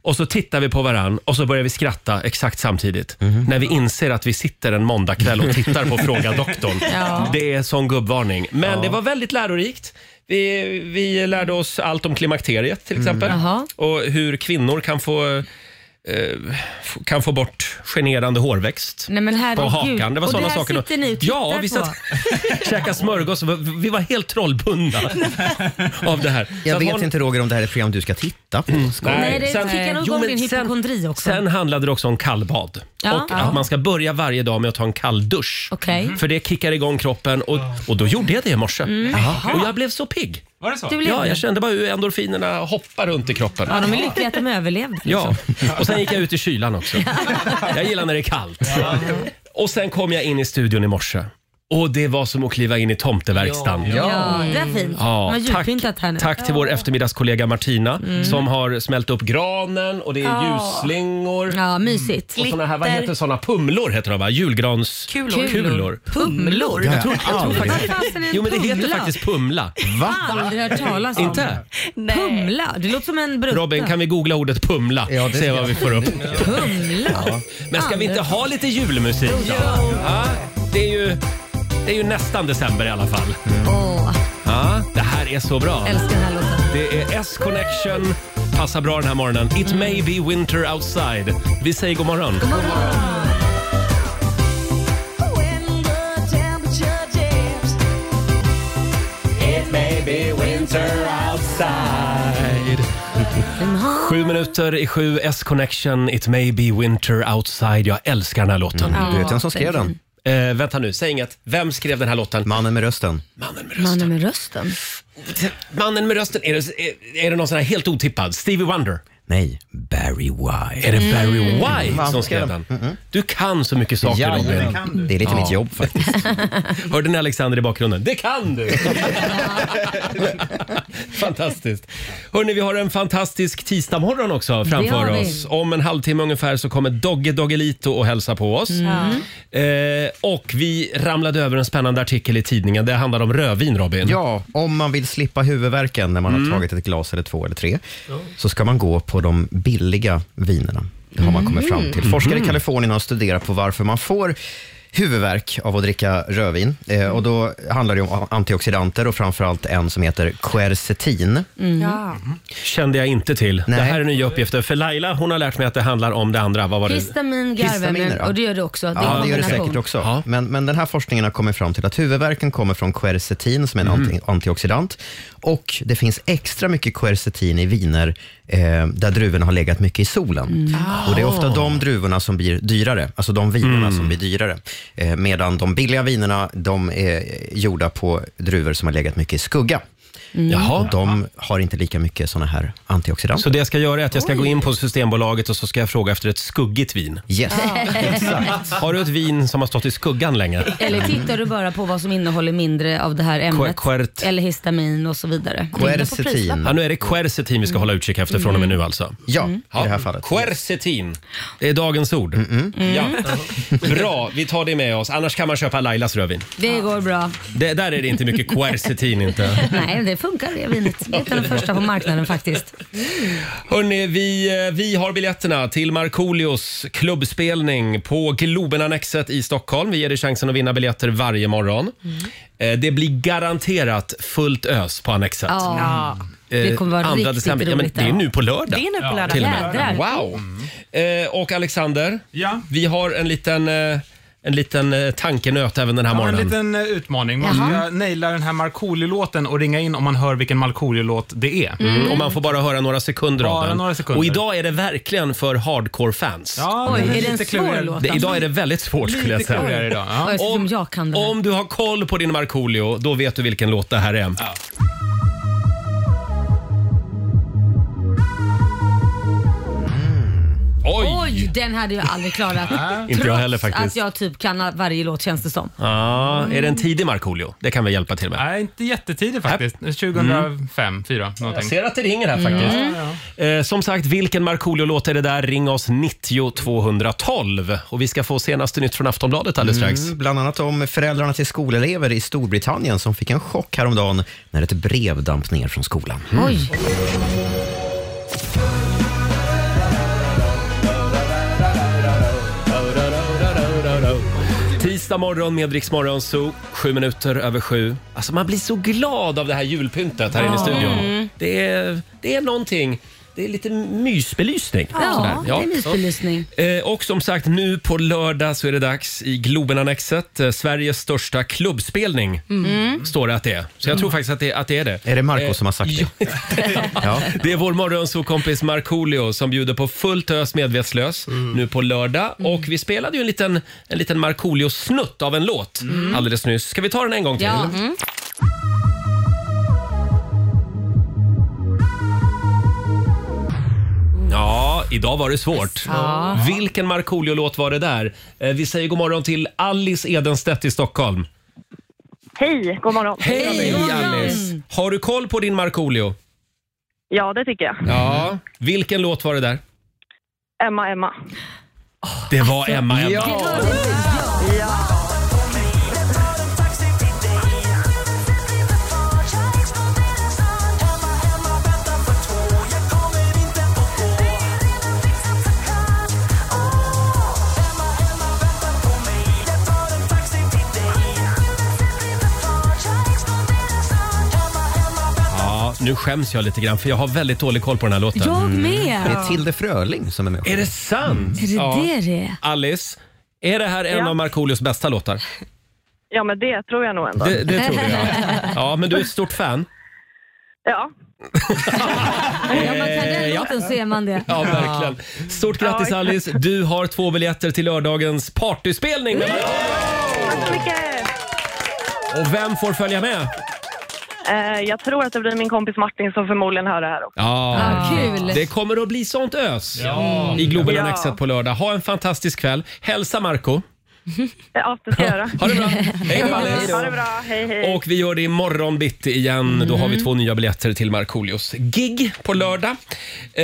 S1: och så tittar vi på varann och så börjar vi skratta exakt samtidigt. När vi inser att vi sitter en måndagkväll och tittar på Fråga doktorn.
S2: Ja.
S1: Det är sån gubbvarning. Men det var väldigt lärorikt. Vi, vi lärde oss allt om klimakteriet till exempel.
S2: Jaha.
S1: Och hur kvinnor kan få, eh, f- kan få bort generande hårväxt.
S2: Nej men
S1: på
S2: herregud.
S1: hakan. Det var
S2: och
S1: sådana
S2: där
S1: saker.
S2: sitter ni och
S1: ja,
S2: tittar
S1: vi
S2: på.
S1: satt käkade smörgås. och var- Vi var helt trollbundna av det här. Så
S3: jag
S1: att
S3: vet
S1: hon- Mm.
S3: inte Roger om det här är ett program du ska titta på. Skoj.
S2: Nej, det
S1: sen-
S2: kickar nog
S1: Jo,
S2: igång
S1: men
S2: din
S1: sen-
S2: hypokondri också.
S1: Sen handlade det också om kallbad
S2: Ja.
S1: och
S2: Ja.
S1: att man ska börja varje dag med att ta en kall dusch.
S2: Okej. Mm.
S1: För det kickar igång kroppen och, och då gjorde jag det i morse. Och jag blev så pigg.
S4: Var det så?
S2: Du blev
S1: Ja,
S2: det.
S1: jag kände bara hur endorfinerna hoppar runt i kroppen.
S2: ja, de är lyckliga att de överlevde. liksom.
S1: Ja, och sen gick jag ut i kylan också. Jag gillar när det är kallt. Och sen kom jag in i studion i morse Och det var som att kliva in i tomteverkstan.
S8: Ja.
S2: Ja, det var fint.
S1: Ja,
S2: Man
S1: tack,
S2: djupintat här nu. Mm.
S1: tack till vår eftermiddagskollega Martina som har smält upp granen och det är ljusslingor.
S2: Ja, mysigt.
S1: Och såna här, vad heter såna? Pumlor heter de va? Julgranskulor.
S7: Kulor.
S1: Kulor.
S2: Pumlor?
S4: Jag tror aldrig.
S2: Vad fasen är en
S1: Jo men det heter
S2: pumla?
S1: faktiskt pumla.
S4: Va?
S2: Aldrig hört talas om.
S1: Inte?
S2: Pumla? Det låter som en brutta.
S1: Robin, kan vi googla ordet pumla?
S3: Ja, det
S1: Se
S3: ska
S1: vad vi får upp.
S2: Pumla?
S1: Men ska vi inte ha lite julmusik då? Ja, det, är ju, det är ju nästan december i alla fall.
S2: Åh,
S1: Ja, det här är så bra.
S2: älskar den här låten.
S1: Det är S-Connection. Passar bra den här morgonen. It may be winter outside. Vi säger Mm. god morgon. Sju minuter i sju, S-Connection, It may be winter outside. Jag älskar den här låten.
S3: Mm. Du vet vem som skrev den?
S1: Eh, vänta nu, säg inget. Vem skrev den här låten?
S3: Mannen med rösten.
S1: Mannen med
S2: Mannen
S1: rösten.
S2: med rösten.
S1: Mannen med rösten, är det, är, är det någon sån här helt otippad? Stevie Wonder?
S3: Nej, Barry White.
S1: Är det Barry
S2: Mm.
S1: White
S3: Va,
S1: som skrev den? Du kan så mycket saker Robin.
S2: Mm.
S3: Det är lite mitt jobb faktiskt.
S1: Hörde ni Alexander i bakgrunden? Det kan du! Fantastiskt. Hörni, vi har en fantastisk tisdagmorgon också framför
S2: har vi.
S1: oss. Om en halvtimme ungefär så kommer Dogge Doggelito och hälsa på oss.
S2: Mm.
S1: Eh, och vi ramlade över en spännande artikel i tidningen. Det handlar om rödvin, Robin.
S3: Ja, om man vill slippa huvudvärken när man
S1: Mm.
S3: har tagit ett glas eller två eller tre, så ska man gå på de billiga vinerna. Det har man kommit fram
S1: Mm.
S3: till. Forskare i Kalifornien har studerat på varför man får huvudvärk av att dricka rödvin. Eh, och då handlar det om antioxidanter och framförallt en som heter quercetin.
S2: Mm.
S7: Ja.
S1: Kände jag inte till.
S3: Nej.
S1: Det här är nya uppgifter. För Laila, hon har lärt mig att det handlar om det andra. Vad var det?
S2: Histamin,
S3: Histaminer,
S2: garvämnen
S3: ja.
S2: och det gör det också. är
S3: Ja,
S2: en
S3: det gör det
S2: kombination.
S3: säkert också.
S1: Ja.
S3: Men, men den här forskningen har kommit fram till att huvudvärken kommer från quercetin som är en
S1: Mhm.
S3: anti- antioxidant. Och det finns extra mycket quercetin i viner eh, där druvorna har legat mycket i solen.
S2: Mm.
S3: Och Det är
S2: Ah.
S3: ofta de druvorna som blir dyrare, alltså de vinerna
S1: Mm.
S3: som blir dyrare. Eh, medan de billiga vinerna de är gjorda på druvor som har legat mycket i skugga. Och
S2: Mm.
S1: Jaha.
S3: de har inte lika mycket såna här antioxidanter.
S1: Så det jag ska göra är att jag ska gå in på Systembolaget och så ska jag fråga efter ett skuggigt vin.
S3: Yes.
S2: Ah.
S1: Har du ett vin som har stått i skuggan länge?
S2: Eller tittar du bara på vad som innehåller mindre av det här ämnet?
S1: quert.
S2: Eller histamin och så vidare.
S3: Quercetin.
S1: Ja, nu är det quercetin vi ska hålla utkik efter från och med
S2: Mm.
S1: nu alltså.
S3: Ja, i det här fallet.
S1: Quercetin. Det är dagens ord.
S2: Mm.
S1: Ja. Bra, vi tar det med oss. Annars kan man köpa Lailas rödvin.
S2: Det går bra.
S1: Det, där är det inte mycket quercetin inte.
S2: Nej, det funkar det vinet. Det är inte den första på marknaden faktiskt.
S1: Hörrni, vi, eh, vi har biljetterna till Markoolios klubbspelning på Globenannexet i Stockholm. Vi ger dig chansen att vinna biljetter varje morgon.
S2: Mm.
S1: Eh, Det blir garanterat fullt ös på Annexet.
S2: Ja. Det kommer vara
S1: Eh, andra
S2: riktigt
S1: december. Ja, men
S2: roligt
S1: det är
S2: där.
S1: nu på lördag.
S7: Det är nu på lördag.
S1: till och med.
S2: Jädrar. Mm.
S1: Wow! Eh, och Alexander,
S4: Ja.
S1: vi har en liten, eh, en liten eh, tankenöt även den här
S4: Ja, en
S1: morgonen.
S4: liten eh, utmaning. Man ska naila den här Markoolio-låten och ringa in om man hör vilken Markoolio-låt det är.
S1: Mm. Och man får bara höra några sekunder av
S4: Bara
S1: den.
S4: några sekunder.
S1: Och idag är det verkligen för hardcore-fans.
S4: Ja,
S2: Oj,
S4: den
S2: är det en
S4: lite
S2: svår
S4: klurigare-
S2: låt? alltså?
S1: Det, idag är det väldigt svårt skulle jag
S4: Lite klurigare
S1: säga.
S4: idag. Ja.
S2: Oj, så som jag kan det här.
S1: om du har koll på din Markoolio, då vet du vilken låt det här är. Oj!
S2: Oj, den hade jag aldrig klarat.
S1: Inte jag heller
S2: Trots
S1: faktiskt.
S2: att jag typ kan varje låt känns det som.
S1: Ja, är det en tidig Markoolio? Det kan vi hjälpa till med. Mm.
S4: Nej, inte jättetidig faktiskt. 2005, 2004
S1: Jag
S4: någonting. Mm.
S1: ser att det ringer här faktiskt. Eh, som sagt, vilken Markoolio-låt är det där? Ring oss 90 212. Och vi ska få senaste nytt från Aftonbladet alldeles strax.
S3: Mm, Bland annat om föräldrarna till skolelever i Storbritannien som fick en chock häromdagen när ett brev damp ner från skolan.
S2: Oj.
S1: Tisdag morgon med Rix Morgon Zoo, sju minuter över sju. Alltså man blir så glad av det här julpyntet här inne i studion.
S2: Mm.
S1: Det, är, det är någonting, det är lite mysbelysning. Sådär,
S2: Ja, det är mysbelysning.
S1: Eh, Och som sagt, nu på lördag så är det dags i Globenannexet. Eh, Sveriges största klubbspelning, står det att det är. Så jag tror faktiskt att det, att det är det.
S3: Är det Marco som har sagt det? Ja.
S1: Det är vår morgonsåkompis Markoolio som bjuder på fullt ös medvetslös
S3: Mm.
S1: nu på lördag. Och vi spelade ju en liten, en liten Markoolio-snutt av en låt
S3: Mm.
S1: alldeles nyss. Ska vi ta den en gång till?
S2: Ja.
S1: Ja, idag var det svårt.
S2: Ja.
S1: Vilken Markoolio-låt var det där? Eh, Vi säger god morgon till Alice Edenstedt i Stockholm.
S6: Hej, god morgon.
S1: Hej Alice! Har du koll på din Markoolio?
S6: Ja, det tycker jag.
S1: Ja. Vilken låt var det där?
S6: Emma, Emma.
S1: Det var Emma Emma. Ja, nu skäms jag lite grann för jag har väldigt dålig koll på den här låten.
S2: Jag
S3: Det
S2: med. Mm.
S3: är Tilde Fröling som är med.
S1: Är det sant?
S2: Är det det det är?
S1: Alice, är det här en
S6: Ja.
S1: av Markoolios bästa låtar?
S6: Ja, men det tror jag nog ändå.
S1: Det, det tror jag. Ja, men du är ett stort fan. Eh,
S6: Ja,
S2: Ja, man kan den låten så är man det.
S1: Ja, verkligen. Stort grattis
S6: Ja.
S1: Alice. Du har två biljetter till lördagens partyspelning. med Markoolio.
S6: tack så mycket.
S1: Och vem får följa med?
S6: Eh, jag tror att det blir min kompis Martin som förmodligen hör det här också.
S1: Ja,
S2: Ah, kul.
S1: Det kommer att bli sånt ös i Globen
S6: Ja.
S1: Annexet på lördag. Ha en fantastisk kväll. Hälsa Marco.
S6: Ja, det ska jag göra.
S1: Ha det bra. Hej då, Alice.
S6: Ha det bra, hej hej.
S1: Och vi gör det imorgon bitti igen. Då har
S2: Mm.
S1: vi två nya biljetter till Markoolios gig på lördag. Eh,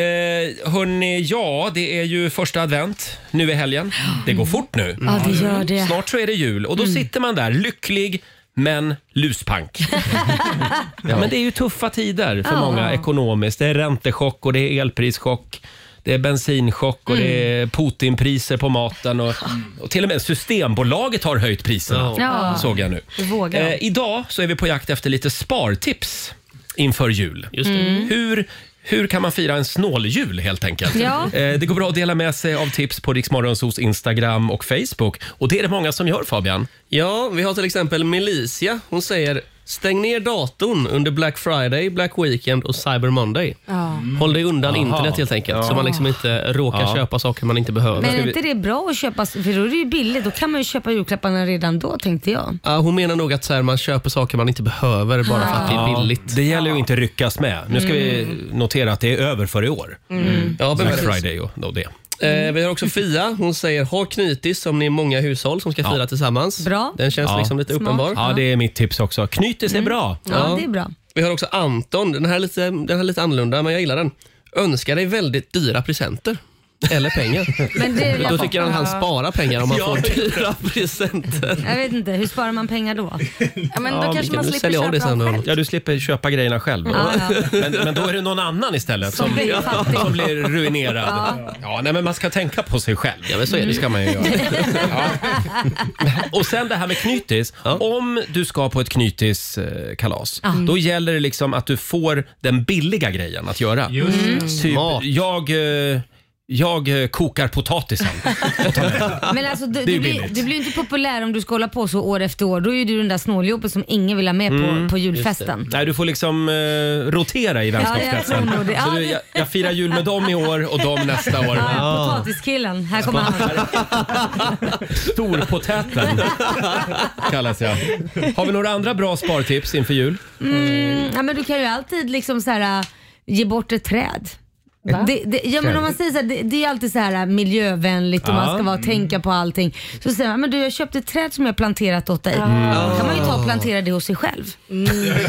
S1: hörni, ja, det är ju första advent nu i helgen. Det går fort nu.
S2: Ja, det gör det. Mm.
S1: Snart så är det jul och då sitter man där lycklig men luspank. ja. Men det är ju tuffa tider för
S2: Ja.
S1: många ekonomiskt. Det är räntechock och det är elprischock. Det är bensinchock och det
S2: Mm.
S1: är Putinpriser på maten och, och till och med Systembolaget har höjt priserna.
S2: Ja.
S1: Såg jag nu.
S2: Det vågar de.
S1: Eh, idag så är vi på jakt efter lite spartips inför jul. Hur, hur kan man fira en snåljul helt enkelt?
S2: Ja.
S1: Eh, det går bra att dela med sig av tips på Riksmorgonsos Instagram och Facebook. Och det är det många som gör Fabian.
S8: Ja, vi har till exempel Melicia. Hon säger stäng ner datorn under Black Friday, Black Weekend och Cyber Monday.
S2: Ja.
S8: Håll dig undan
S1: Aha.
S8: internet helt enkelt, så man liksom inte råkar
S1: Ja.
S8: köpa saker man inte behöver.
S2: Men
S1: ska
S2: är
S1: vi-
S2: inte det bra att köpa, för då är det ju billigt. Då kan man ju köpa julklapparna redan då tänkte jag.
S8: Ja, hon menar nog att så här, man köper saker man inte behöver bara för att det är billigt.
S1: Det gäller ju inte att ryckas med. Nu ska vi notera att det är över för i år.
S8: Mm. Ja, men
S1: Black
S8: precis.
S1: Friday och, och det.
S8: Eh, vi har också Fia. Hon säger ha knytis om ni är många hushåll som ska fira tillsammans.
S2: Bra.
S8: Den känns
S1: Ja.
S8: liksom lite
S2: Smart.
S8: uppenbar. Mm.
S1: Ja, det är mitt tips också. Knytes är bra.
S2: Ja,
S8: Ja.
S2: det är bra.
S8: Vi har också Anton. Den här, är lite, den här är lite annorlunda, men jag gillar den. Önska dig väldigt dyra presenter. Eller pengar.
S2: Men det,
S8: Då tycker han han sparar pengar om han får dyra presenter.
S2: jag vet inte, hur sparar man pengar då?
S7: Ja, men
S8: Ja,
S7: då
S8: vi
S7: kanske
S8: kan
S7: man
S8: väl
S7: slipper
S8: sälja av
S7: köpa
S8: det sen
S7: dem
S8: med
S7: själv.
S8: honom.
S1: Ja, du slipper köpa grejerna själv.
S2: Ja, ja.
S1: Men, men då är det någon annan istället som,
S2: Som blir fattig.
S1: som blir ruinerad. Ja. nej, men man ska tänka på sig själv.
S8: Ja, men så är det.
S1: Det ska man ju göra. Ja. Och sen det här med knytis. Om du ska på ett knytiskalas, då gäller det liksom att du får den billiga grejen att göra.
S4: Just det.
S1: Typ,
S8: Mat.
S1: jag, eh, jag eh, kokar potatisen.
S2: Men alltså, du,
S1: är ju
S2: du, blir,
S1: billigt.
S2: du blir ju inte populär om du ska hålla på så år efter år. Då är ju du den där snåljåpen som ingen vill ha med
S1: Mm,
S2: på, på julfesten.
S1: Nej, du får liksom eh, rotera i vänskapskretsen.
S2: jag tror nog det. Ja,
S1: Så du,
S2: det-
S1: jag, jag firar jul med dem i år och dem nästa år.
S2: Ja, ja, potatiskillen. Här kommer han.
S1: Storpotäten kallas jag. Har vi några andra bra spartips inför jul?
S3: Eh,
S2: Mm, ja, men du kan ju alltid liksom så här, äh, ge bort ett träd. Det, det, ja, men om man säger så här, det, det är ju alltid så här äh, miljövänligt och man
S1: Ja.
S2: ska vara, tänka på allting. Så säger man, men du jag köpte ett träd som jag planterat åt dig.
S3: Mm.
S2: Då kan man ju
S3: Ah.
S2: ta och plantera det hos sig själv.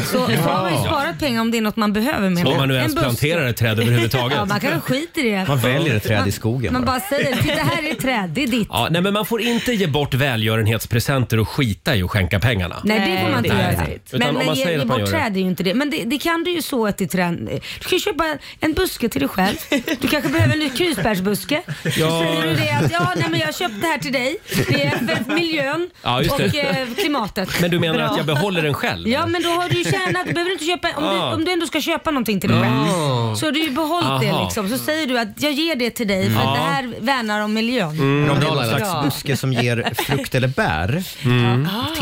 S2: Så, så har man ju sparat pengar om det är något man behöver. Med.
S1: Om man nu ens
S2: Mm. buske.
S1: planterar ett träd överhuvudtaget.
S2: Ja, man kanske skiter i det.
S3: Man väljer ett träd i skogen.
S2: Man
S3: bara.
S2: bara säger, titta här är ett träd, det är ditt.
S1: Ja, nej, men man får inte ge bort välgörenhetspresenter och skita i att skänka pengarna.
S2: Nej det får man inte
S1: Nej,
S2: göra.
S1: nej. Utan
S2: Men,
S1: om
S2: men
S1: man
S2: ge,
S1: säger
S2: ge
S1: att man
S2: bort
S1: gör det.
S2: träd är ju inte det. Men det, det kan du ju så ett i trän. Du kan ju köpa en buske till dig själv. Du kanske behöver en ny krusbärsbuske.
S1: Ja.
S2: Så säger du det att ja, nej, men jag köpte det här till dig. Det är för miljön
S1: Ja, just
S2: och
S1: det.
S2: eh, klimatet.
S1: Men du menar att jag behåller den själv?
S2: Ja men då har du ju tjänat, du behöver inte köpa, om,
S1: Ah.
S2: du, om du ändå ska köpa någonting till dig själv så har du ju behållit
S1: Aha. Ah.
S2: det liksom. Så säger du att jag ger det till dig för att det här värnar om miljön.
S3: Mm.
S1: Mm.
S3: Om det är någon
S8: Laila.
S3: slags buske som ger frukt eller bär,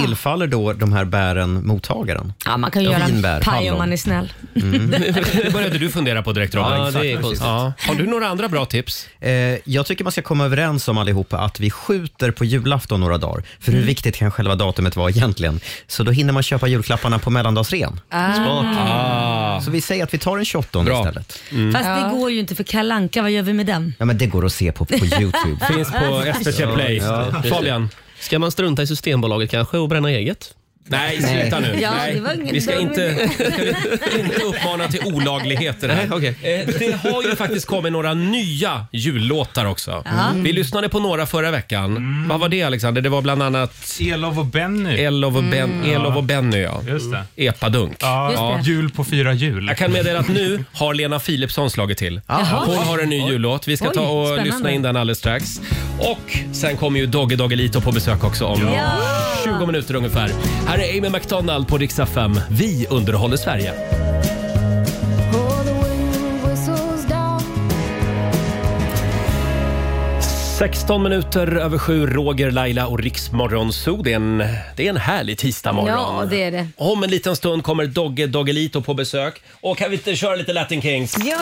S3: tillfaller då de här bären mottagaren?
S2: Mm. Ja man kan ju göra en
S3: Vinbär,
S2: paj om
S3: hallon.
S2: man är snäll.
S3: Mm.
S1: Det började du fundera på direkt Robin.
S8: Ja, det är konstigt.
S1: Ja. Har du några andra bra tips?
S3: Eh, jag tycker man ska komma överens om allihopa att vi skjuter på julafton några dagar. För
S1: Mm.
S3: hur viktigt kan själva datumet vara egentligen? Så då hinner man köpa julklapparna på mellandagsrean.
S2: Ah. Mm.
S3: Så vi säger att vi tar den 28
S1: Ah. Bra. Mm.
S3: istället.
S2: Fast det går ju inte för Kalanka vad gör vi med den?
S3: Ja, men det går att se på på YouTube.
S1: Finns på SVT Play.
S8: Ja, ja, precis.
S1: Fabian?
S8: Ska man strunta i Systembolaget kanske och bränna eget?
S1: Nej, sluta nu.
S2: Ja,
S1: Nej.
S2: det var ingen
S1: vi ska
S2: dum
S1: inte,
S2: idé.
S1: ska vi inte uppmana till olagligheter här.
S8: Nej, okej.
S1: Eh, Det har ju faktiskt kommit några nya jullåtar också. Mm.
S2: Ja.
S1: Vi lyssnade på några förra veckan. Vad var det Alexander? Det var bland annat
S4: Elov Mm. och Benny.
S1: Elov och, ben, Elov och Benny, ja.
S4: Just det.
S1: Epadunk.
S2: Mm.
S4: Ja,
S2: Just det.
S4: jul på fyra jul.
S1: Jag kan meddela att nu har Lena Philipsson slagit till.
S2: Jaha.
S1: Hon har en ny jullåt. Vi ska
S2: Oj,
S1: ta och
S2: spännande.
S1: lyssna in den alldeles strax. Och sen kommer ju Dogge Doggelito på besök också om
S2: Ja.
S1: 20 minuter ungefär. Här är Amy McDonald på Riksa 5. Vi underhåller Sverige.
S9: the wind whistles down.
S1: 16 minuter över sju, Roger, Laila och Riksmorgon Zoo. Det är en, det är en härlig tisdagmorgon.
S2: Ja, det är det.
S1: Om en liten stund kommer Dogge Doggelito på besök. Och kan vi inte köra lite Latin Kings?
S2: Ja.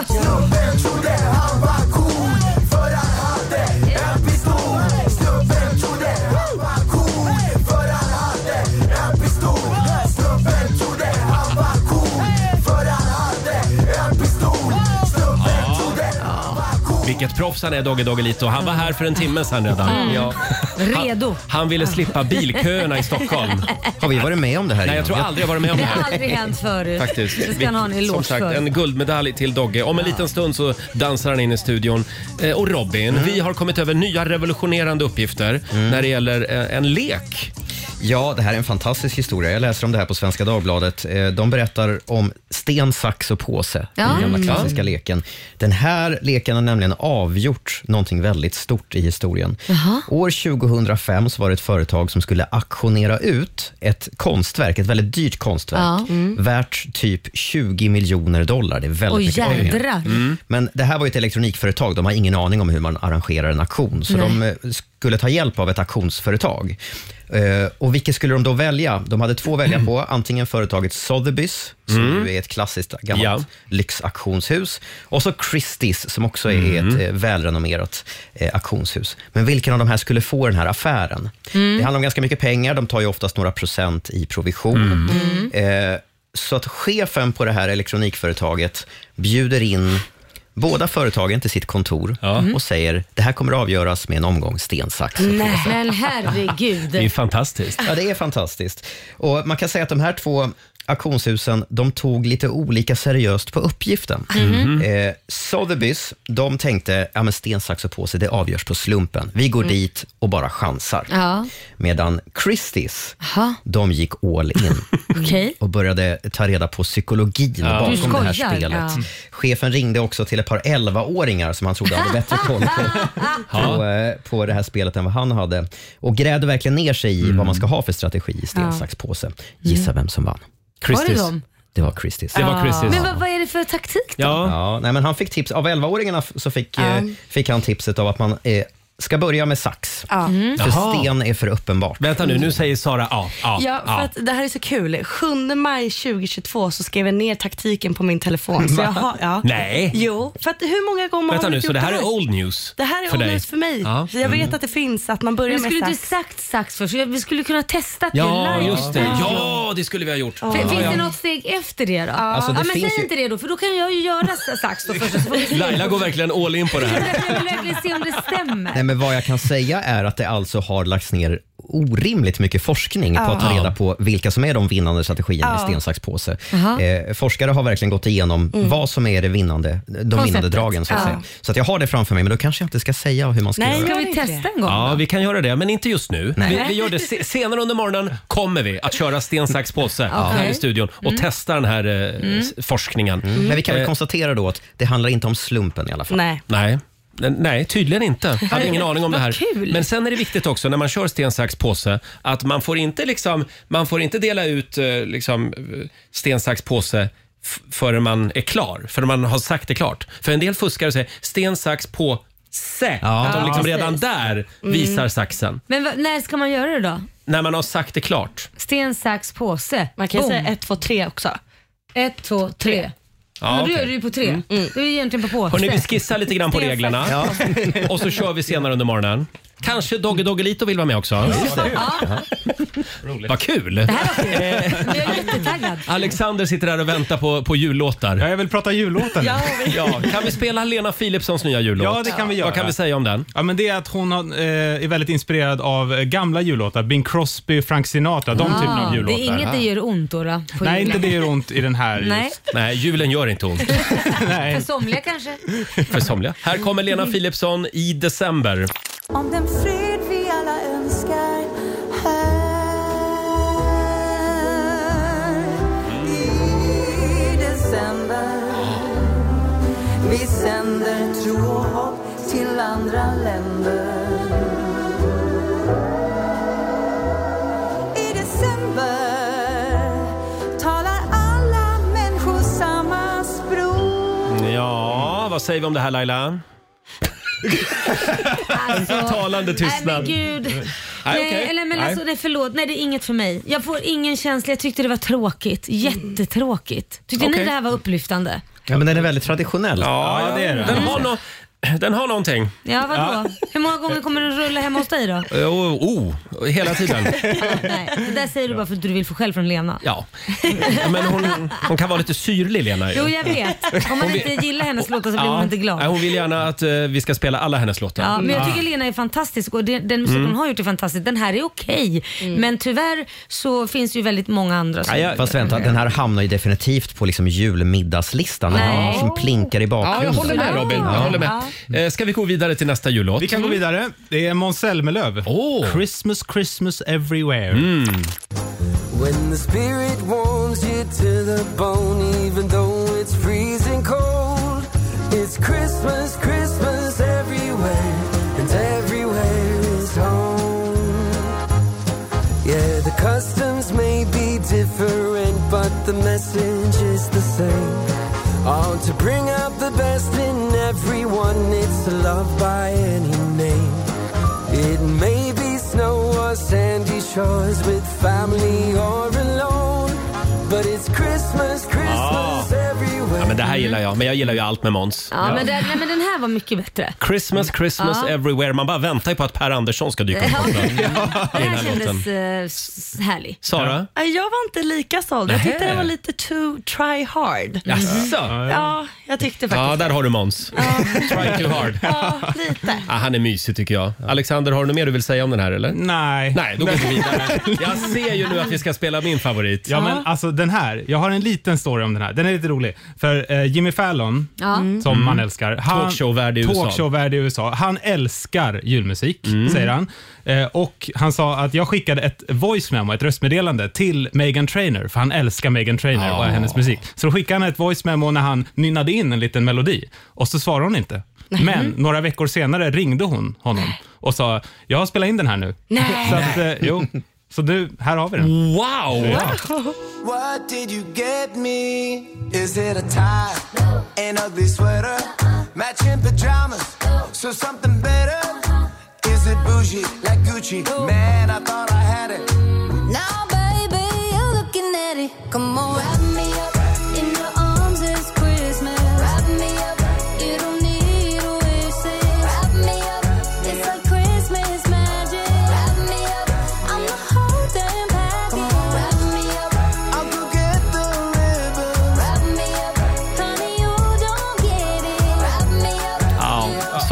S1: Vilket proffs han är, Dogge Doggelito. Han var här för en timme sedan redan.
S2: Mm.
S1: Ja.
S2: Redo.
S1: Han ville slippa bilköerna i Stockholm.
S3: Har vi varit med om det här
S1: Nej, jag
S3: innan?
S1: tror aldrig jag varit med om
S2: Det
S1: det
S2: har
S1: här.
S2: aldrig hänt förut.
S1: Faktiskt.
S2: Så ska han ha en eloge
S1: Som sagt,
S2: för.
S1: en guldmedalj till Dogge. Om en liten stund så dansar han in i studion. Eh, och Robin,
S2: Mm.
S1: vi har kommit över nya revolutionerande uppgifter när det gäller eh, en lek.
S3: Ja, det här är en fantastisk historia. Jag läser om det här på Svenska Dagbladet. Eh, De berättar om sten, sax och påse,
S2: Ja.
S3: den gamla klassiska leken. Den här leken har nämligen avgjort någonting väldigt stort i historien. År 2005 så var det ett företag som skulle auktionera ut ett konstverk, ett väldigt dyrt konstverk,
S2: Ja. Mm.
S3: värt typ 20 miljoner dollar. Det är väldigt
S2: Oj,
S3: mycket pengar.
S2: jädrar.
S3: Men det här var ju ett elektronikföretag. De har ingen aning om hur man arrangerar en auktion. Så
S2: Nej.
S3: de eh, skulle ta hjälp av ett auktionsföretag. Eh, och vilket skulle de då välja? De hade två att välja på. Antingen företaget Sotheby's, som ju är ett klassiskt gammalt
S1: Ja.
S3: lyxauktionshus. Och så Christie's, som också är ett eh, välrenommerat eh, auktionshus. Men vilken av de här skulle få den här affären? Det handlar om ganska mycket pengar. De tar ju oftast några procent i provision. Eh, så att chefen på det här elektronikföretaget bjuder in båda företagen till sitt kontor
S1: Mm.
S3: och säger det här kommer att avgöras med en omgång sten, sax och
S2: Nej. Men herregud.
S1: Det är fantastiskt.
S3: Ja, det är fantastiskt. Och man kan säga att de här två auktionshusen, de tog lite olika seriöst på uppgiften.
S2: Mm-hmm.
S3: Eh, Sotheby's, de tänkte, ja men sten, sax och påse, det avgörs på slumpen. Vi går dit och bara chansar.
S2: Mm. Ja.
S3: Medan Christie's,
S2: Jaha,
S3: de gick all in
S2: okej.
S3: och började ta reda på psykologin
S2: Du
S3: bakom
S2: skojar.
S3: det här spelet. Mm.
S2: Ja.
S3: Chefen ringde också till ett par 11-åringar som han trodde hade bättre koll på, på, eh, på det här spelet än vad han hade. Och grävde verkligen ner sig i
S1: Mm.
S3: vad man ska ha för strategi i sten,
S2: Ja. Mm.
S3: sax, påse. Gissa vem som vann?
S2: Var det dem? Ah.
S3: Det var Christies.
S1: Det var Christies.
S2: Men vad, vad är det för taktik då?
S1: Ja.
S3: Ja, nej, men han fick tips, av 11-åringarna f- så fick, eh, fick han tipset av att man eh, ska börja med sax.
S7: Ja.
S2: Mm.
S3: För
S1: Jaha.
S3: sten är för uppenbart.
S1: Vänta nu, nu säger Sara ja. ja,
S7: Ja, för
S1: ja.
S7: att det här är så kul. 7 maj 2022 så skrev jag ner taktiken på min telefon. Så jag har, ja.
S1: Nej.
S7: Jo, för att hur många gånger
S1: Vänta
S7: har man
S1: nu,
S7: inte
S1: så det
S7: gjort
S1: här är old news
S7: Det här är
S1: för dig?
S7: för mig.
S1: Ja. Mm.
S7: Så jag vet att det finns att man börjar
S2: Vi
S7: med
S2: skulle inte
S7: sax.
S2: sagt sax först. Vi skulle kunna testa det
S1: Ja,
S2: live.
S1: just det. Ja, det skulle vi ha gjort.
S2: Fin- Finns
S1: Ja,
S2: det
S1: ja.
S2: något steg efter det då?
S3: Alltså, det
S2: ja, men
S3: finns
S2: säg
S3: ju-
S2: inte det då, för då kan jag ju göra sa- sax då först. Så får vi se.
S1: Laila går verkligen all in på det här.
S2: Jag vill verkligen se om det stämmer.
S3: Nej, men vad jag kan säga är att det alltså har lagts ner orimligt mycket forskning på att ta reda på vilka som är de vinnande strategierna i sten, sax, påse. Eh, forskare har verkligen gått igenom
S2: Mm.
S3: vad som är det vinnande, de vinnande dragen. Så att, säga. så att jag har det framför mig, men då kanske jag inte ska säga hur man ska
S7: Nej,
S3: göra.
S2: Ska
S7: jag
S2: vi
S7: inte
S2: testa
S7: det.
S2: en gång?
S1: Ja, vi kan göra det, men inte just nu.
S3: Nej.
S1: Vi, vi gör det se- senare under morgonen kommer vi att köra sten, sax, påse här i studion och
S2: Mm.
S1: testa den här eh, s- forskningen.
S3: Mm. Men vi kan väl
S1: Eh,
S3: konstatera då att det handlar inte om slumpen i alla fall.
S7: Nej.
S1: Nej. N- Nej, tydligen inte. Jag hade ingen aning om det här.
S2: kul.
S1: Men sen är det viktigt också när man kör sten, sax, påse att man får inte, liksom, man får inte dela ut eh, liksom, eh, sten, sax, påse f- förrän man är klar, förrän man har sagt det klart. För en del fuskare säger sten, sax, påse. att de liksom redan där
S2: Mm.
S1: visar saxen.
S2: Men vad- när ska man göra det då?
S1: När man har sagt det klart.
S2: Sten, sax, påse.
S7: Man kan
S2: Boom.
S7: säga ett, två, tre Mm. också.
S2: Ett, två, tre. Ja, då
S1: okej.
S2: är du ju på tre. Du är egentligen på påse.
S1: Hörni, vi skissar lite grann på
S2: Det är
S1: reglerna och så kör vi senare under morgonen. Kanske Dogge Doggelito vill vara med också. Vad kul!
S2: Jag är jättetaggad.
S1: Alexander sitter där och väntar på, på jullåtar.
S4: Ja, jag vill prata jullåten.
S7: Ja, vi-
S1: Ja, kan vi spela Lena Philipssons nya jullåt?
S4: Ja, det kan vi göra.
S1: Vad kan vi säga om den?
S4: Ja, men det är att hon har, eh, är väldigt inspirerad av eh, gamla jullåtar. Bing Crosby, Frank Sinatra, de typen av
S2: Ah. det
S4: jullåtar.
S2: är inget det gör ont då, då på
S4: Nej,
S2: julen.
S4: inte det gör ont i den här.
S2: Nej.
S4: Just.
S1: Nej, julen gör inte ont
S2: För somliga kanske.
S1: för somliga. Här kommer Lena Philipsson i december.
S9: Om den frid vi alla önskar här i december. Vi sänder tro och hopp till andra länder. I december talar alla människor samma språk.
S1: Ja, vad säger vi om det här Laila?
S2: Alltså,
S1: Talande
S2: Nej
S1: tystnad.
S2: men gud.
S1: Nej,
S2: Nej,
S1: okej.
S2: eller, men
S1: Nej.
S2: Alltså, nej förlåt, nej det är inget för mig. Jag får ingen känsla, jag tyckte det var tråkigt.
S7: Mm.
S2: Jättetråkigt. Tyckte
S1: Okej.
S2: ni det här var upplyftande?
S3: Ja, men den är väldigt traditionell.
S1: Ja, det är det. Den har, no den har någonting.
S2: Ja vadå? Hur många gånger kommer den rulla hemma hos dig då?
S1: Eh, Oh, oh, hela tiden.
S2: Ja, nej, det där säger du bara för att du vill få skäll från Lena.
S1: Ja. Men hon, hon kan vara lite syrlig Lena. ju.
S2: Jo jag vet. Om man inte gillar hennes låtar så Alltså, blir
S1: Ja.
S2: man inte glad.
S1: Nej, hon vill gärna att eh, vi ska spela alla hennes låtar. Mm.
S2: Ja, men jag tycker Lena är fantastisk och den, den musik hon har gjort är fantastisk. Den här är okej, men tyvärr så finns det ju väldigt många andra som...
S1: Ja, jag-
S3: Fast vänta, den här hamnar ju definitivt på liksom julmiddagslistan. Den
S2: Nej.
S3: här som plinkar i bakgrunden.
S1: Ja, jag håller med Robin. Jag håller med. Eh, Ska vi gå vidare till nästa jullåt? Mm.
S4: Vi kan gå vidare. Det är Måns Zelmerlöw.
S1: Åh. Mm.
S4: Christmas, Christmas everywhere.
S5: When the spirit warms you to the bone, even though it's freezing cold, it's Christmas, Christmas everywhere, and everywhere is home. Yeah, the customs may be different, but the message is the same. All to bring out the best in everyone, it's loved by any name. It may be snow or sandy shores with family or alone, but it's Christmas, Christmas everywhere.
S1: Ja, men det här gillar jag, men jag gillar ju allt med Måns.
S2: Ja, Men, den, nej, men den här var mycket bättre.
S1: Christmas, Christmas
S2: Ja.
S1: everywhere. Man bara väntar ju på att Per Andersson ska dyka upp.
S2: Ja. Den
S1: den
S2: här
S1: här
S2: kändes
S1: låten.
S2: eh, s- härlig.
S1: Sara?
S7: Nej, Jag var inte lika såld. Jag tyckte
S1: Nähä.
S7: den var lite too try hard. Mm.
S1: Jaså?
S7: Ja, jag tyckte
S1: Ja,
S7: faktiskt
S1: där har du Måns. Try too hard.
S7: Ja, lite.
S1: Ah, han är mysig tycker jag. Alexander, har du något mer du vill säga om den här eller?
S4: Nej.
S1: Nej, då går vi vidare. Jag ser ju nu att vi ska spela min favorit.
S4: Ja, men alltså den här. Jag har en liten story om den här. Den är lite rolig. För eh, Jimmy Fallon,
S2: Ja.
S4: som man älskar. Han,
S1: Mm. Talkshowvärd i USA. Mm.
S4: talkshowvärd i USA. Han älskar julmusik, säger han. Eh, och Han sa att jag skickade ett voice memo, ett röstmeddelande till Megan Trainor, för han älskar Megan Trainor och
S1: Ah.
S4: hennes musik. Så då skickade han ett voice memo när han nynnade in en liten melodi och så svarade hon inte. Men några veckor senare ringde hon honom och sa jag har spelat in den här nu.
S2: Nej.
S4: Så, att, eh, jo, så nu, här har vi den.
S1: Wow!
S5: What did you get me? Is it a tie? An ugly sweater? Matching pajamas? So something better? Is it bougie like Gucci? Man, I thought I had it.
S9: Now, baby, you're looking at it. Come on, wrap me up in your arms. It's Christmas. Wrap me up. You don't need a wish list. Wrap me up. It's like Christmas magic. Wrap me up. I'm the whole damn package. Come on, wrap me up.
S5: I'll go get the ribbon.
S9: Wrap me up. Honey, you don't get it. Wrap me up.
S1: Ja.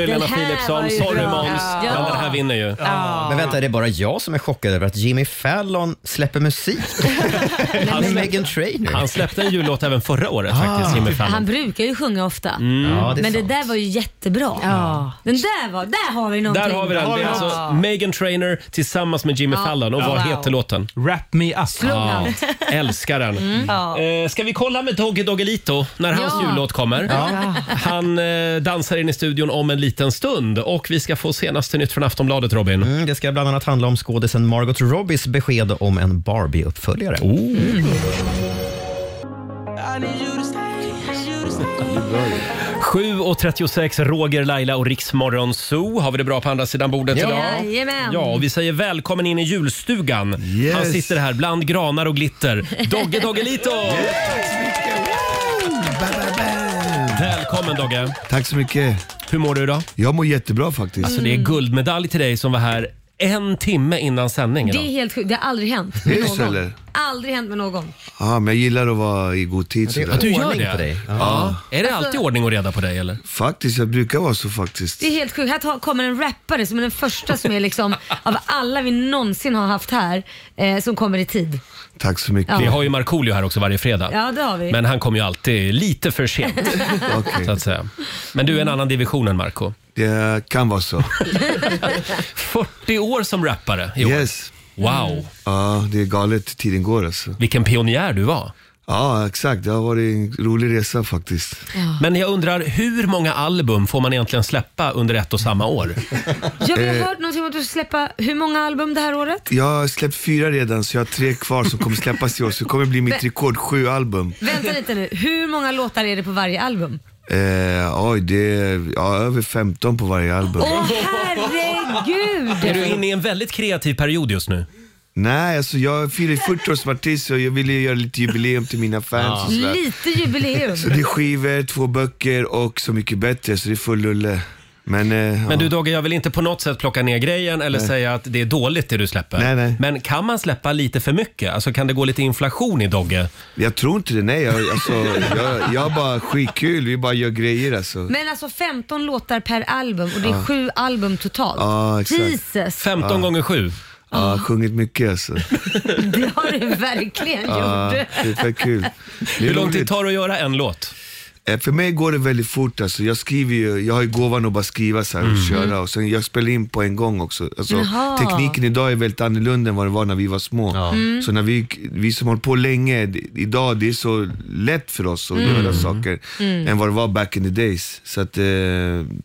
S2: Den
S1: Lena
S2: här var
S1: Philipsson,
S2: ju
S1: sorry
S2: bra.
S1: Måns.
S2: Ja.
S1: Men den här vinner ju.
S3: Men vänta, är det bara jag som är chockad över att Jimmy Fallon släpper musik? Han är Megan Trainor.
S1: Han släppte en jullåt även förra året faktiskt, Jimmy
S2: Han
S1: Fallon. Mm.
S2: brukar ju sjunga ofta.
S3: Ja, det är
S2: Men det
S3: sant.
S2: där var ju jättebra. Den där var, där har vi någonting.
S1: Där har vi den. Det är alltså Megan Trainor tillsammans med Jimmy Fallon. Och vad
S7: Wow.
S1: heter låten?
S4: Wrap me up.
S1: Ja, älskar den.
S2: Mm.
S7: Mm.
S1: Eh, ska vi kolla med Dogge Doggelito när hans
S2: Ja.
S1: jullåt kommer? Han eh, dansar in i studion om en liten stund och vi ska få senaste nytt från Aftonbladet, Robin.
S3: Mm, det ska bland annat handla om skådisen Margot Robbies besked om en Barbie-uppföljare.
S5: I need you to stay. I need you to stay.
S1: 7.36, Roger, Laila och Riksmorgon Zoo. Har vi det bra på andra sidan bordet idag?
S2: Jajamän.
S1: Ja, och vi säger välkommen in i julstugan.
S10: Yes.
S1: Han sitter här bland granar och glitter. Dogge Doggelito!
S10: Bam,
S1: Välkommen Dogge.
S10: Tack så mycket.
S1: Hur mår du idag?
S10: Jag mår jättebra faktiskt.
S1: Alltså det är guldmedalj till dig som var här en timme innan sändning
S2: Det är
S1: idag.
S2: helt sjukt, det har aldrig hänt
S10: Det
S2: med
S10: är så,
S2: någon.
S10: eller?
S2: Aldrig hänt med någon.
S10: Ja, men jag gillar att vara i god tid
S1: Mm. Ja, du
S10: sådär.
S1: gör
S3: Ordning
S1: det?
S3: på dig.
S1: Ja. Är det
S7: Alltså-
S1: alltid ordning och reda på dig eller?
S10: Faktiskt, jag brukar vara så faktiskt.
S2: Det är helt sjukt. Här tar- kommer en rappare som är den första som är liksom av alla vi någonsin har haft här eh, som kommer i tid.
S10: Tack så mycket.
S1: Vi har ju Markoolio här också varje fredag.
S2: Ja, det har vi.
S1: Men han kommer ju alltid lite för sent
S10: Okej.
S1: så att säga. Men du är en annan division än Marco.
S10: Det kan vara så.
S1: 40 år som rappare i år.
S10: Yes.
S1: Wow,
S10: Ja, det är galet tiden går alltså.
S1: vilken pionjär du var.
S10: Ja, exakt. Det har varit en rolig resa faktiskt.
S1: Men jag undrar, hur många album får man egentligen släppa under ett och samma år?
S2: Jag har
S10: Eh,
S2: hört någonting om att du ska släppa hur många album det här året?
S10: Jag har släppt fyra redan, så jag har tre kvar som kommer släppas i år. Så det kommer bli mitt rekord, sju album.
S2: Vänta lite nu, hur många låtar är det på varje album?
S10: Eh, oj, det är ja, över 15 på varje album.
S2: Åh herregud!
S1: Är du inne i en väldigt kreativ period just nu?
S10: Nej, alltså jag firar ju 40 år som artist så jag ville ju göra lite jubileum till mina fans och sådär.
S2: Lite jubileum.
S10: Så det är skivor, två böcker och Så mycket bättre, så det är full rulle. Men, eh,
S1: Men
S10: ja.
S1: du Dogge, jag vill inte på något sätt plocka ner grejen eller säga att det är dåligt det du släpper.
S10: Nej, nej.
S1: Men kan man släppa lite för mycket? Alltså kan det gå lite inflation i Dogge?
S10: jag tror inte det, nej. Jag, alltså, jag, jag har bara skitkul, vi bara gör grejer alltså.
S2: Men alltså 15 låtar per album och det är sju album totalt.
S10: Ja, exakt.
S2: Jesus,
S1: 15 gånger 7.
S10: Ja, sjungit mycket alltså.
S2: det har du verkligen
S10: Ja,
S2: gjort.
S10: det är fett Ah, kul. Det är
S1: Hur lång tid
S10: roligt.
S1: tar det att göra en låt?
S10: Eh, För mig går det väldigt fort alltså. Jag skriver ju, jag har ju gåvan att bara skriva så här
S1: Mm.
S10: och köra och sen jag spelar in på en gång också. Alltså,
S2: Jaha.
S10: tekniken idag är väldigt annorlunda än vad det var när vi var små.
S2: Mm.
S10: Så när vi, vi som har hållit på länge, d- idag det är så lätt för oss att
S2: Mm.
S10: göra saker än vad det var back in the days. Så att, eh,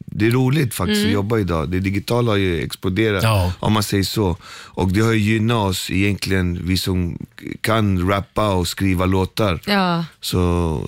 S10: det är roligt faktiskt
S2: Mm.
S10: att jobba idag. Det digitala har ju exploderat
S1: Ja.
S10: om man säger så. Och det har ju gynnat oss egentligen, vi som kan rappa och skriva låtar.
S2: Ja,
S10: Så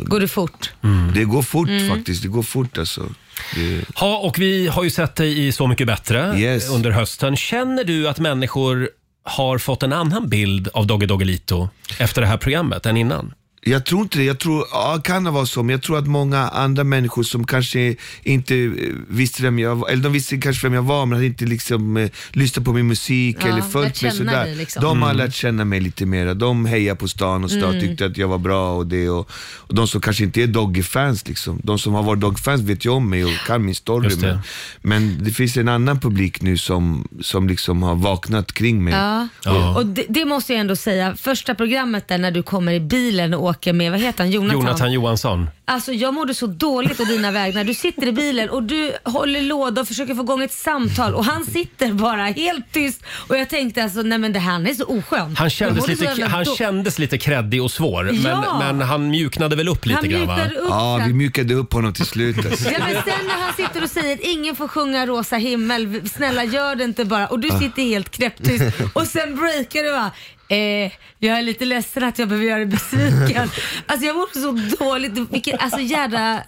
S2: går det fort? Mm.
S10: det går fort faktiskt. Det går fort alltså. Det,
S1: Ja, och vi har ju sett dig i Så mycket bättre
S10: Yes.
S1: under hösten. Känner du att människor har fått en annan bild av Dogge Doggelito efter det här programmet än innan?
S10: jag tror inte det. Jag tror, ja, kan det vara så, men jag tror att många andra människor som kanske inte eh, visste vem jag var, eller de visste kanske vem jag var, men hade inte liksom eh, lyssnat på min musik
S2: Ja,
S10: eller
S2: lärt
S10: följt mig
S2: känna
S10: sådär.
S2: dig liksom. Mm.
S10: De
S1: Mm.
S10: har lärt känna mig lite mer. De hejar på stan och stan, tyckte att jag var bra och det. Och, och de som kanske inte är Doggy-fans, liksom. de som har varit Doggy-fans vet ju om mig och kan min story.
S1: Just det.
S10: Men, men det finns en annan publik nu som, som liksom har vaknat kring mig.
S2: Ja.
S1: Ja.
S2: Och det, det måste jag ändå säga, första programmet där när du kommer i bilen och åker med, vad heter han, Jonathan?
S1: Jonathan Johansson.
S2: Alltså jag mådde så dåligt å dina vägnar. Du sitter i bilen och du håller låda och försöker få igång ett samtal och han sitter bara helt tyst och jag tänkte alltså nej men det här han är så oskön.
S1: Han
S2: Jag
S1: kändes,
S2: mådde så
S1: lite,
S2: jävla
S1: han
S2: då-
S1: kändes lite kreddig och svår,
S2: Ja.
S1: men, men han mjuknade väl upp lite
S2: han
S1: grann va?
S2: mjukade upp
S10: Ja,
S2: sen.
S10: vi mjukade upp honom till slut. Alltså.
S2: Ja, men sen när han sitter och säger att ingen får sjunga rosa himmel, snälla gör det inte bara. Och du
S10: Ah.
S2: sitter helt knäpptyst och sen breakar du va. Eh, jag är lite ledsen att jag behöver göra dig besviken. Alltså jag mådde så dåligt. Vilket, alltså jädra,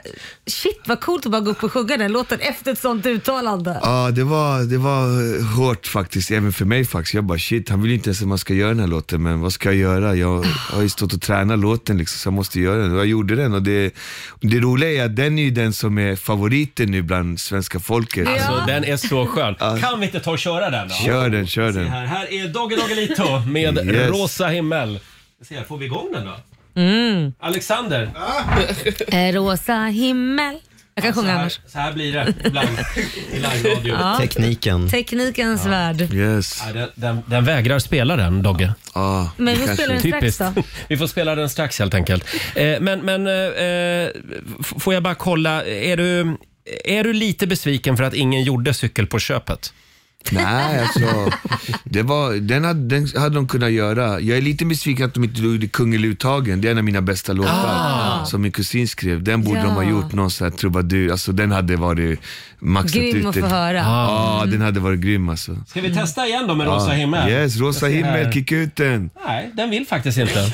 S2: shit vad coolt att bara gå upp och sjunga den låten efter ett sånt uttalande.
S10: Ja, det var, det var hårt faktiskt, även för mig faktiskt. Jag bara shit, han vill ju inte ens att man ska göra den här låten, men vad ska jag göra? Jag har ju stått och tränat låten liksom, så jag måste göra den. Och jag gjorde den och det, det roliga är att den är ju den som är favoriten nu bland svenska folket.
S1: Alltså den är så skön. Kan vi inte ta och köra den då?
S10: Kör den, kör den.
S1: Här, här är Dogge Doggelito med
S10: Yes.
S1: Rosa himmel. Vi ser, Får vi igång den då? Alexander,
S2: Eh, rosa himmel. Jag kan
S1: så
S2: sjunga
S1: här,
S2: annars.
S1: så här blir det ibland i live-radio.
S2: Ja.
S3: Tekniken.
S2: Teknikens värld.
S10: Yes.
S1: Nej, Den, den, den vägrar spela den, Dogge.
S10: Ja,
S2: Men
S10: det
S2: vi
S10: kanske-
S2: spelar den strax
S1: Typiskt.
S2: då.
S1: Vi får spela den strax helt enkelt. Eh, men men eh, eh, f- får jag bara kolla, är du, är du lite besviken för att ingen gjorde cykel på köpet?
S10: Nej, alltså. Det var, den, hade, den hade de kunnat göra. Jag är lite besviken att de inte gjorde Kungäluvtagen. Det är en av mina bästa låtar som min kusin skrev. Den borde de ha
S2: Ah. Ja.
S10: gjort, någon sån här trubadur. Alltså, den hade varit maxat
S2: Grym
S10: ut.
S2: att
S10: den.
S2: få höra.
S10: Ja, den hade varit grym alltså.
S1: Ska vi testa igen då med Rosa himmel?
S10: Yes, rosa himmel, kick ut den.
S1: Nej, den vill faktiskt inte.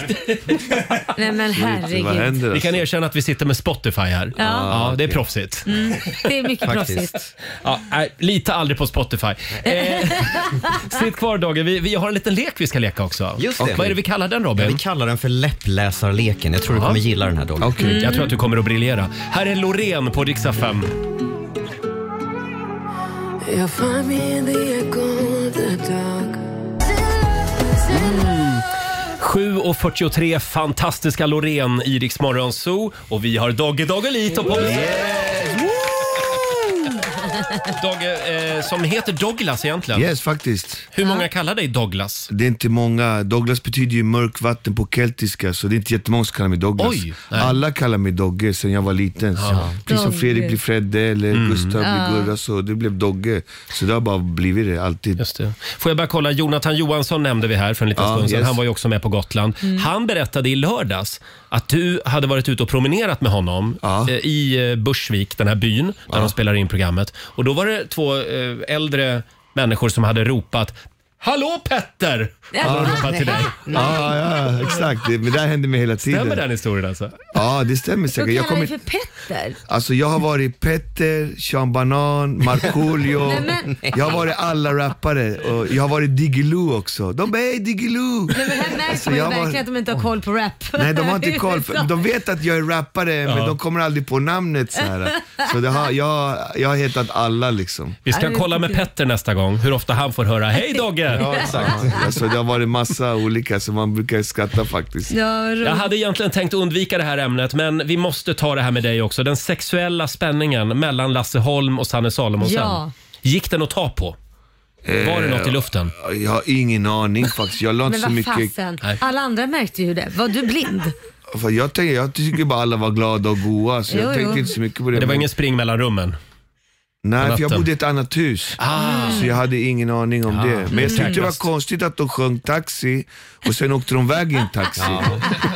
S2: Nej men
S10: Vad
S2: herregud.
S10: händer
S1: Vi
S10: alltså?
S1: kan erkänna att vi sitter med Spotify här. Ja, det är proffsigt.
S2: Det Mm, är mycket proffsigt.
S1: Ja, nej, lita aldrig på Spotify. Eh, sitt kvar Dogge, vi, vi har en liten lek vi ska leka också.
S3: Just det.
S1: Vad är det vi kallar den Robin?
S3: Vi kallar den för läppläsarleken. Jag tror du
S1: Ja.
S3: kommer gilla den här Dogge.
S1: Okej. Jag tror att du kommer att briljera. Här är Loreen på Rix FM.
S5: Jag find me in the echo of the dark.
S1: 7.43, fantastiska Loreen i Rix Morgon Zoo. Och vi har Dogge Doggelito på Dogge, eh, som heter Douglas egentligen.
S10: Yes, faktiskt.
S1: Hur många kallar dig Douglas?
S10: Det är inte många. Douglas betyder ju mörk vatten på keltiska, så det är inte jättemånga som kallar mig Douglas.
S1: Oj, nej.
S10: Alla kallar mig Dogge sen jag var liten. Så, precis som
S2: Dogge.
S10: Fredrik blir Fredde eller
S1: Mm.
S10: Gustav
S2: Ja.
S10: blir Gurra, så det blev Dogge. Så det har bara blivit det, alltid.
S1: Just det. Får jag bara kolla, Jonathan Johansson nämnde vi här för en liten
S10: Ja,
S1: stund sedan.
S10: yes.
S1: Han var ju också med på Gotland. Han berättade i lördags att du hade varit ute och promenerat med honom
S10: Ja.
S1: eh, i eh, Bursvik, den här byn där de spelar in programmet. Och då var det två eh, äldre människor som hade ropat Hallå Petter! Hade de ropat till dig.
S10: Ah. Ja, ja, exakt. Det, men det här händer mig hela tiden.
S1: Stämmer den historien alltså?
S10: Ja, det
S2: Då
S10: stämmer säkert.
S2: kallar
S10: Jag,
S2: kommer...
S10: kommer,
S2: för Petter.
S10: alltså, jag har varit Petter, Sean Banan, Markoolio.
S2: Nej, men-
S10: Jag har varit alla rappare. Och jag har varit Diggiloo också. De bara “Hej Diggiloo!”
S2: Nej, men här märker
S10: Alltså,
S2: man ju
S10: jag var-
S2: verkligen att de inte har koll på rap.
S10: Nej, de har inte koll.
S2: Det är
S10: För,
S2: så.
S10: de vet att jag är rappare, men de kommer aldrig på namnet. Så, här. så det har, jag, jag har hetat alla liksom.
S1: Vi ska
S2: det är
S1: kolla med Petter nästa gång hur ofta han får höra Hej Dogge!
S10: Ja, alltså, det har varit massa olika, så man brukar skratta faktiskt.
S2: Ja,
S1: Jag
S2: roligt.
S1: hade egentligen tänkt undvika det här ämnet, men vi måste ta det här med dig också. Den sexuella spänningen mellan Lasse Holm och Sanne Salomonsen.
S2: Ja.
S1: Gick den att ta på? Var det något i luften?
S10: Eh, Jag har ingen aning faktiskt. Jag la inte
S2: Men
S10: så
S2: vad
S10: mycket...
S2: fasen,
S1: Nej.
S2: alla andra märkte ju det. Var du blind?
S10: För jag, tänker, jag tycker bara alla var glada och goa, så
S2: Jo,
S10: jag
S2: jo.
S10: tänkte inte så mycket på det.
S1: Men det var
S10: Men-
S1: ingen spring mellan rummen?
S10: Nej, för jag
S1: natten. Ah.
S10: bodde i ett annat hus. Så jag hade ingen aning om det.
S1: Mm.
S10: Men jag tyckte det var
S1: Säkrast.
S10: konstigt att de sjöng taxi och sen åkte de iväg i en taxi.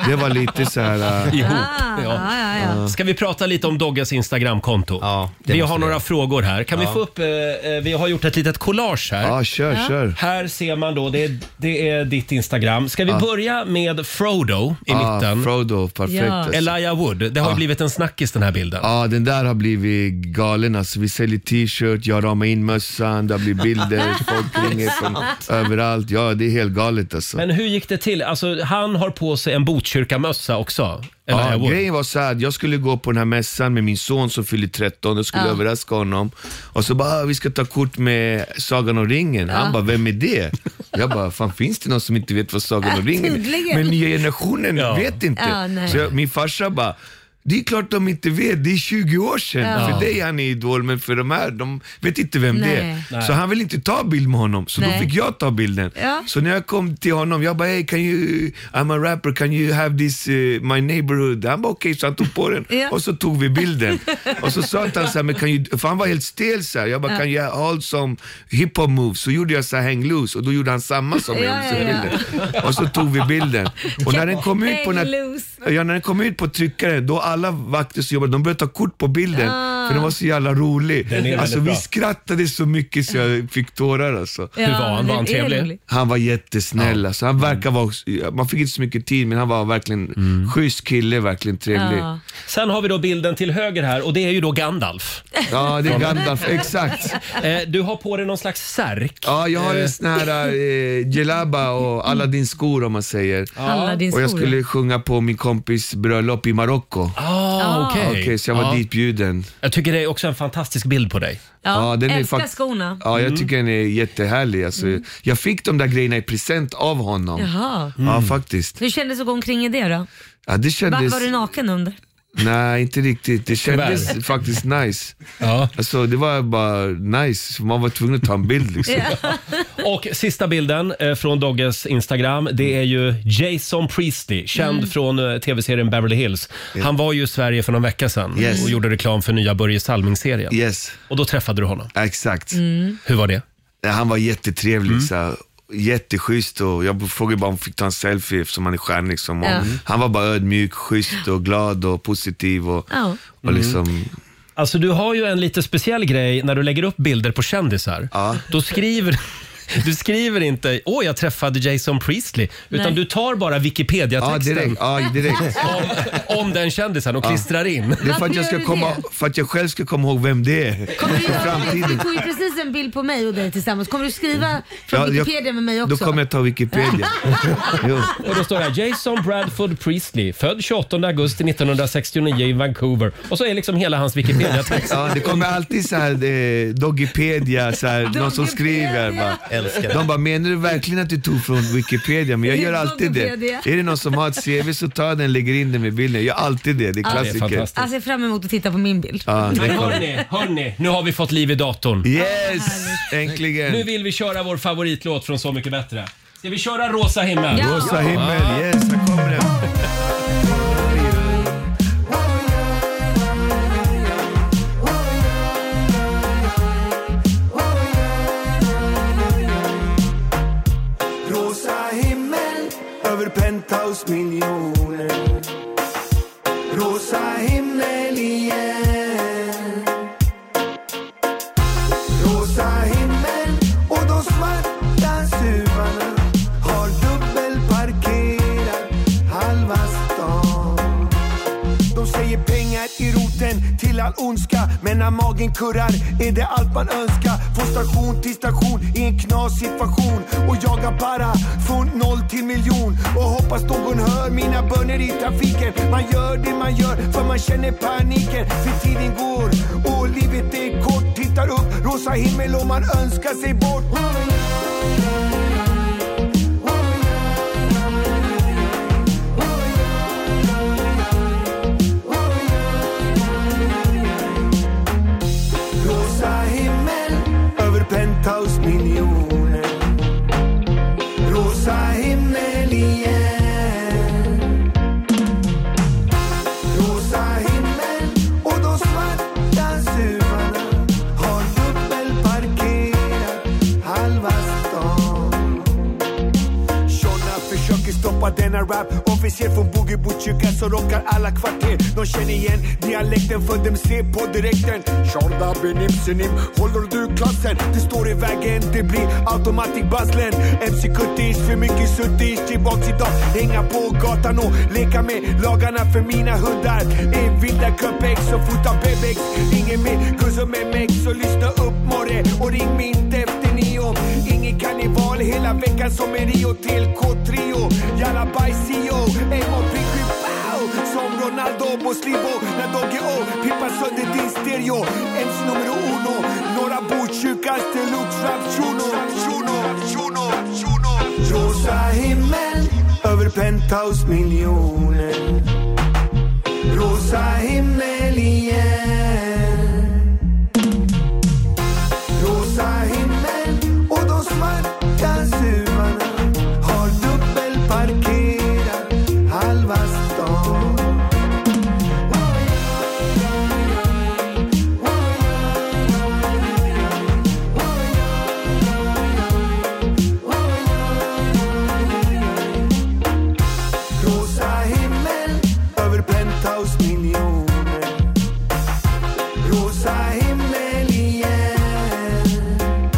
S10: Det var lite så här... äh,
S1: Ihop.
S2: Ah, ja, ja, ja.
S1: Ska vi prata lite om Dogges Instagramkonto?
S3: Ja, det
S1: vi
S3: måste
S1: har
S3: vi
S1: några
S3: göra.
S1: frågor här. Kan vi få upp... Eh, eh, vi har gjort ett litet collage här.
S10: Ja, kör, kör.
S1: Här ser man då, det är, det är ditt Instagram. Ska vi börja med Frodo i mitten?
S10: Ah, Frodo, perfekt.
S2: Ja.
S10: Alltså.
S1: Elijah Wood. Det har ju blivit en snackis den här bilden.
S10: Ja, den där har blivit galen alltså. Vi säljer t-shirt, jag ramar in mössan, det har blivit bilder, folk ringer från överallt. Ja, det är helt galet alltså.
S1: Men hur gick det till? Alltså, han har på sig en Botkyrkamössa också. Elijah
S10: Ja,
S1: Wood.
S10: grejen var så här, jag skulle gå på den här mässan med min son som fyller 13, jag skulle överraska honom. Och så bara, "Ah, vi ska ta kort med Sagan om ringen. Han bara, vem är det? Jag bara, fan finns det någon som inte vet vad Sagan om ringen är?
S2: tydligen.
S10: Men nya generationen vet inte.
S2: Ja, nej.
S10: så jag, min farsa bara, det är klart de inte vet, det är 20 år sedan. För dig han är idol, men för de här, de vet inte vem det är.
S2: Nej.
S10: Så han vill inte ta bild med honom, så
S2: Nej.
S10: då fick jag ta bilden.
S2: Ja.
S10: Så när jag kom till honom, jag bara hey, can you, I'm a rapper, can you have this eh, my neighborhood? Han bara okej, så han tog på den
S2: Ja.
S10: och så tog vi bilden. och så sa inte han så här, men kan you, för han var helt stel så här. Jag bara, can you hold some hiphop moves? Så gjorde jag så här, hang loose och då gjorde han samma som jag
S2: Ja,
S10: gjorde
S2: ja,
S10: så bilden. Och så tog vi bilden. Och när den kom ut på
S2: Hang
S10: den här
S2: loose.
S10: Ja, när den kom ut på tryckaren, då alla vakter som jobbade, de började ta kort på bilden för den var så jävla
S1: Den är
S10: rolig. Alltså,
S1: väldigt
S10: vi
S1: bra.
S10: skrattade så mycket så jag fick tårar alltså.
S1: Hur var han? Var han
S2: det är
S1: trevlig?
S2: roligt.
S10: Han var jättesnäll. Alltså, han verkar vara, man fick inte så mycket tid, men han var verkligen
S1: Mm.
S10: schysst kille, verkligen trevlig.
S2: Ja.
S10: Ja,
S1: Sen har vi då bilden till höger här och det är ju då Gandalf.
S10: det är Gandalf. Exakt.
S1: Eh, du har på dig någon slags särk.
S10: Ja, jag har en sån här eh, gelaba
S1: Mm.
S10: och Aladdins skor om man säger.
S2: Alla din
S10: Och jag
S2: skor.
S10: skulle sjunga på min kompis bröllop i Marocko.
S1: Ah, okej.
S10: Okej, så jag var
S1: Ja.
S10: ditbjuden.
S1: Jag tycker det är också en fantastisk bild på dig. Mm.
S2: Ja,
S10: Ja, den är
S2: älskar
S10: fakt-
S2: skorna. Mm.
S10: Ja, jag tycker den är jättehärlig. Alltså, Jag fick de där grejerna i present av honom.
S2: Jaha. Mm.
S1: Mm.
S10: Ja, faktiskt.
S2: Hur kändes det att gå omkring i det då?
S10: Ja, det
S2: Va,
S10: kändes...
S2: var du naken under?
S10: Nej, inte riktigt. Det kändes faktiskt nice.
S1: Ja.
S10: Alltså, det var bara nice. så Man var tvungen att ta en bild liksom.
S1: Och sista bilden eh, från Dogges Instagram, det är ju Jason Priestley, känd
S10: Mm.
S1: från eh, tv-serien Beverly Hills. Han var ju i Sverige för någon vecka sedan
S10: Yes.
S1: och gjorde reklam för nya Börje Salming-serien.
S10: Yes,
S1: Och då träffade du honom.
S10: exakt.
S1: Hur var det?
S10: Ja, Han var jättetrevlig.
S2: Mm.
S10: Så här, jätteschysst och jag frågade bara om han fick ta en selfie eftersom han är stjärna. Liksom. Och
S2: Ja.
S10: Han var bara ödmjuk, schysst och glad och positiv. Och,
S2: Ja. Mm.
S10: och liksom,
S1: Alltså du har ju en lite speciell grej när du lägger upp bilder på kändisar.
S10: Ja.
S1: Då skriver Du skriver inte “Åh, jag träffade Jason Priestley” utan
S10: Nej.
S1: du tar bara Wikipedia-texten
S10: Ja, direkt. Ja, direkt.
S1: Om, om den kändisen och klistrar in.
S10: Det är för att, jag
S2: Varför
S10: ska
S2: gör du
S10: komma,
S2: det?
S10: för att jag själv ska komma ihåg vem det är. För
S2: Du
S10: framtiden.
S2: tog ju precis en bild på mig och dig tillsammans. Kommer du skriva från
S10: Mm. Ja, jag-
S2: Wikipedia med mig också?
S10: Då kommer jag ta Wikipedia. jo.
S1: Och då står det här, Jason Bradford Priestley, född 28 augusti 1969 i Vancouver. Och så är liksom hela hans Wikipedia-text.
S10: Ja, det kommer alltid så här, eh, Doggipedia, så här, någon som skriver. Bara.
S3: Älskar det.
S10: De bara, menar du verkligen att du tog från Wikipedia? Men jag gör alltid det.
S2: Doggipedia.
S10: Är det någon som har ett CV så ta den, lägger in den med bilden. Jag gör alltid det, det är
S2: Ja.
S10: klassiker.
S2: Alltså, jag ser fram emot att titta på min bild.
S10: Ja, det
S1: Men
S10: kommer.
S1: hörni, hörni, nu har vi fått liv i datorn.
S10: Yes, äntligen.
S1: Nu vill vi köra vår favoritlåt från Så mycket bättre. Ska vi köra Rosa himmel?
S2: Ja.
S10: Rosa himmel, yes, här kommer den.
S5: Rosa himmel över penthouse-miljoner Rosa himmel igen Rosa himmel och de svarta suvarna har dubbelparkerat halva stan De säger pengar i roten till all ondska Men när magen kurrar är det allt man önskar Från station till station i en knas situation Och jagar para från noll till miljon Och hoppas någon hör mina böner i trafiken Man gör det man gör för man känner paniken För tiden går och livet är kort Tittar upp, rosa himmel och man önskar sig bort Rosa himmel över penthouse-miljoner Rosa himmel igen Rosa himmel och de svarta suvarna har dubbelparkerat halva stan Shona försöker stoppa denna rap Officer från Boogie Botkyrka som rockar alla kvarter De känner igen dialekten för dem ser på direkten Shonda benim sinim, håller du klassen? Det står i vägen, det blir automatikbasslen MC Kuttis, för mycket suttis Tillbaks idag, hänga på gatan och leka med lagarna för mina hundar Är vilda köpex och fotar bebex Ingen med kurs och med mex Så lyssna upp morre och ring mig inte efter nio Ingen karneval hela veckan som en Rio till K-trio Jalla E bajsio, Egon Pichu pow! Som Ronaldo Muslibo när Dogge O pippar sönder din stereo MC nummer uno, Norra Botkyrkas deluxe rap shuno shuno shuno shuno Rosa himmel över penthouse miljoner Rosa himmel igen Rosa himmel och de svarta suvarna har dubbelparkerat halva stan. Rosa himmel över penthouse miljoner Rosa himmel igen